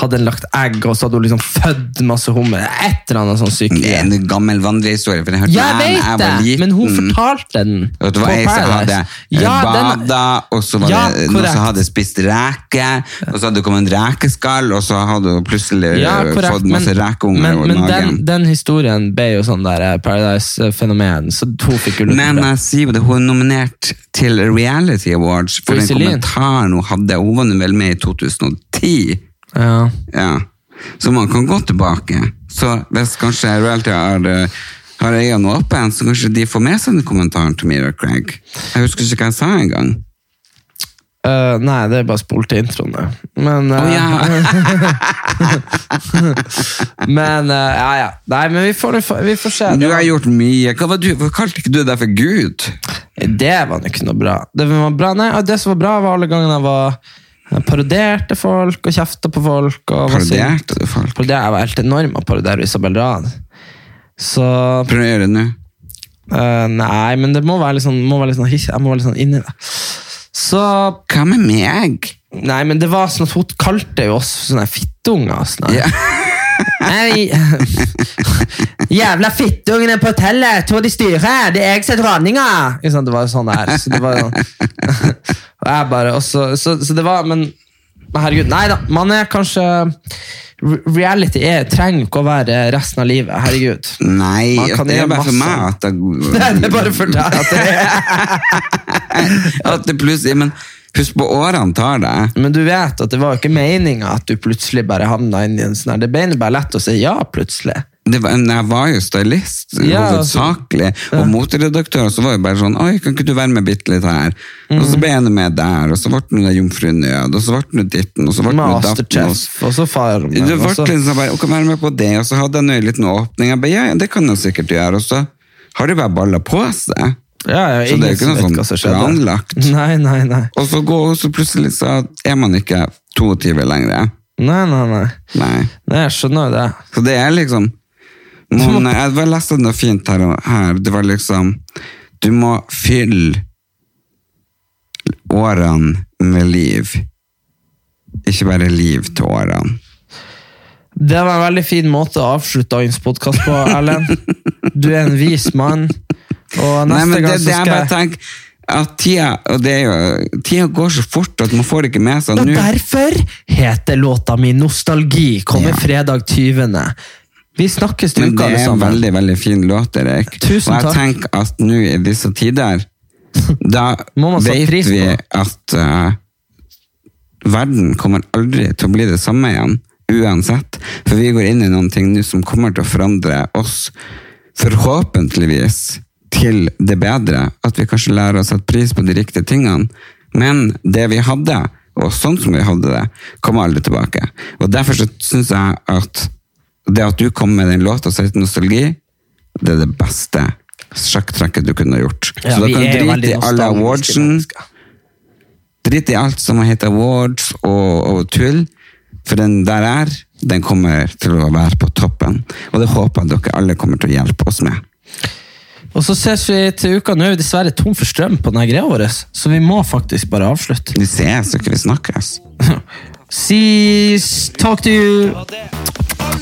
Speaker 2: hadde den lagt egg, og så hadde hun liksom født masse hummer. Et eller annet sånn syk
Speaker 1: Det er en gammel vandrehistorie, for jeg hørte
Speaker 2: Jeg
Speaker 1: den da
Speaker 2: vet
Speaker 1: jeg var
Speaker 2: det,
Speaker 1: liten.
Speaker 2: men hun fortalte den.
Speaker 1: Og det var
Speaker 2: på
Speaker 1: ei som hadde
Speaker 2: Paradise. Ja, den-
Speaker 1: bada, og så var
Speaker 2: Ja,
Speaker 1: det noen
Speaker 2: korrekt.
Speaker 1: som hadde spist reker, og så hadde det kommet en rekeskall, og så hadde hun plutselig
Speaker 2: Ja,
Speaker 1: eh,
Speaker 2: korrekt,
Speaker 1: fått masse rekeunger
Speaker 2: men,
Speaker 1: over
Speaker 2: men
Speaker 1: magen.
Speaker 2: den, den historien ble jo sånn der eh, Paradise-fenomen, så hun fikk jo lurt
Speaker 1: Men jeg sier jo det, hun er nominert til Reality Awards for
Speaker 2: Og
Speaker 1: den
Speaker 2: Iselin.
Speaker 1: kommentaren hun hadde. Hun var nå vel med i 2010.
Speaker 2: Ja.
Speaker 1: Ja. Så man kan gå tilbake. Så hvis kanskje Reality har, eh, har øynene åpne, så kanskje de får med seg den kommentaren til Mira Craig. Jeg husker ikke hva jeg sa engang.
Speaker 2: Eh, nei, det er bare spol til introen, det. Men eh,
Speaker 1: Å,
Speaker 2: Men eh, <laughs> ja, ja. Nei, men vi får, vi får se.
Speaker 1: <laughs> Du har gjort mye. Hva var du? Hvorfor kalte ikke du deg for Gud?
Speaker 2: Det var nå ikke noe bra. Det, var bra nei, og det som var bra, var alle gangene jeg var jeg parodierte folk og kjefta på folk. Og var sint.
Speaker 1: Parodierte du folk?
Speaker 2: Parodier- Jeg var helt enorm å parodiere Isabel Rad. Så
Speaker 1: Prøv å gjøre det nå.
Speaker 2: eh, Nei, men det må være litt sånn, må være litt sånn hissig. Jeg må være litt sånn inni det. Så
Speaker 1: Hva med meg?
Speaker 2: Nei, men det var sånn at hun kalte jo oss sånne fittunger. Sånn her.
Speaker 1: Ja.
Speaker 2: <laughs> Nei <laughs> Jævla fittungene på hotellet! Tror de styrer! Det er jeg som er dronninga! Ikke sant, Det var sånn det er. Så det var sånn. <laughs> Og jeg bare, og så, så, så det var Men men herregud, nei da. Man er kanskje re- Reality er, trenger ikke å være resten av livet. Herregud. <laughs>
Speaker 1: Nei,
Speaker 2: Man kan
Speaker 1: det er
Speaker 2: gjøre
Speaker 1: bare for
Speaker 2: masse.
Speaker 1: meg at jeg-
Speaker 2: <laughs> Nei, Det er bare for deg at det er
Speaker 1: <laughs> At det plutselig, men husk på årene tar deg.
Speaker 2: Men du vet at det var jo ikke meninga at du plutselig bare havna inn i en sånn her. Det ble bare lett å si ja, plutselig.
Speaker 1: Det var, men jeg var jo stylist,
Speaker 2: Ja, altså.
Speaker 1: hovedsakelig, og moteredaktør, og så var jeg bare sånn, oi, kan ikke du være med bitte litt her? Og
Speaker 2: Mhm.
Speaker 1: så ble jeg nå med der, og så ble det noe jomfru nød, og så ble det noe ditten, og så ble det noe datten. og
Speaker 2: Masterchef, Altså.
Speaker 1: så-
Speaker 2: og så Farmen.
Speaker 1: Det
Speaker 2: og
Speaker 1: ble
Speaker 2: så-
Speaker 1: liksom bare, å kan være med på det, og så hadde jeg nå en liten åpning, jeg bare, ja, ja, det kan jeg sikkert gjøre, og så har de bare ballet på seg.
Speaker 2: Ja, ja,
Speaker 1: Så det er jo
Speaker 2: ingen
Speaker 1: ikke noe
Speaker 2: som vet
Speaker 1: sånn
Speaker 2: hva som skjedde.
Speaker 1: planlagt.
Speaker 2: Nei, nei, nei.
Speaker 1: Og så, går, og så plutselig så er man ikke 22 lenger.
Speaker 2: Nei, nei, nei.
Speaker 1: Nei.
Speaker 2: Nei, Jeg skjønner jo det.
Speaker 1: Så det er liksom
Speaker 2: <laughs>
Speaker 1: man, Jeg bare leste noe fint her, og her. Det var liksom Du må fylle årene med liv. Ikke bare liv til årene.
Speaker 2: Det var en veldig fin måte å avslutte dagens podkast på, Erlend. Du er en vis mann. Og neste
Speaker 1: Nei, men det,
Speaker 2: gang så
Speaker 1: det jeg
Speaker 2: skal
Speaker 1: bare
Speaker 2: jeg
Speaker 1: tenker at tida, og det er jo, tida går så fort at man får det ikke med seg
Speaker 2: Og
Speaker 1: nå.
Speaker 2: derfor heter låta mi 'Nostalgi'. Kommer
Speaker 1: Ja.
Speaker 2: fredag 20. Vi snakkes til
Speaker 1: Men
Speaker 2: uka,
Speaker 1: det
Speaker 2: alle
Speaker 1: er en
Speaker 2: sammen.
Speaker 1: veldig, veldig fin låt, Erik.
Speaker 2: Tusen
Speaker 1: Og jeg
Speaker 2: takk.
Speaker 1: tenker at nå i disse
Speaker 2: <laughs>
Speaker 1: tider, da
Speaker 2: Må man sette
Speaker 1: vet
Speaker 2: pris på
Speaker 1: vi
Speaker 2: det.
Speaker 1: at eh, verden kommer aldri til å bli det samme igjen, uansett. For vi går inn i noen ting nå som kommer til å forandre oss, forhåpentligvis, til det bedre. At vi kanskje lærer å sette pris på de riktige tingene. Men det vi hadde, og sånn som vi hadde det, kommer aldri tilbake. Og derfor så syns jeg at det at du kom med den låta som heter Nostalgi, det er det beste sjakktrekket du kunne ha gjort.
Speaker 2: Ja,
Speaker 1: så da
Speaker 2: vi
Speaker 1: kan
Speaker 2: er
Speaker 1: du drite
Speaker 2: veldig
Speaker 1: i alle
Speaker 2: nostalgiske
Speaker 1: awardsen.
Speaker 2: mennesker.
Speaker 1: Drit i alt som heter awards og, og tull, for den der er, den kommer til å være på toppen. Og det håper jeg dere alle kommer til å hjelpe oss med.
Speaker 2: Og så ses vi til uka. Nå er vi dessverre tom for strøm på denne greia vår, så vi må faktisk bare avslutte.
Speaker 1: Vi ses og ikke vi snakkes.
Speaker 2: See, talk to you.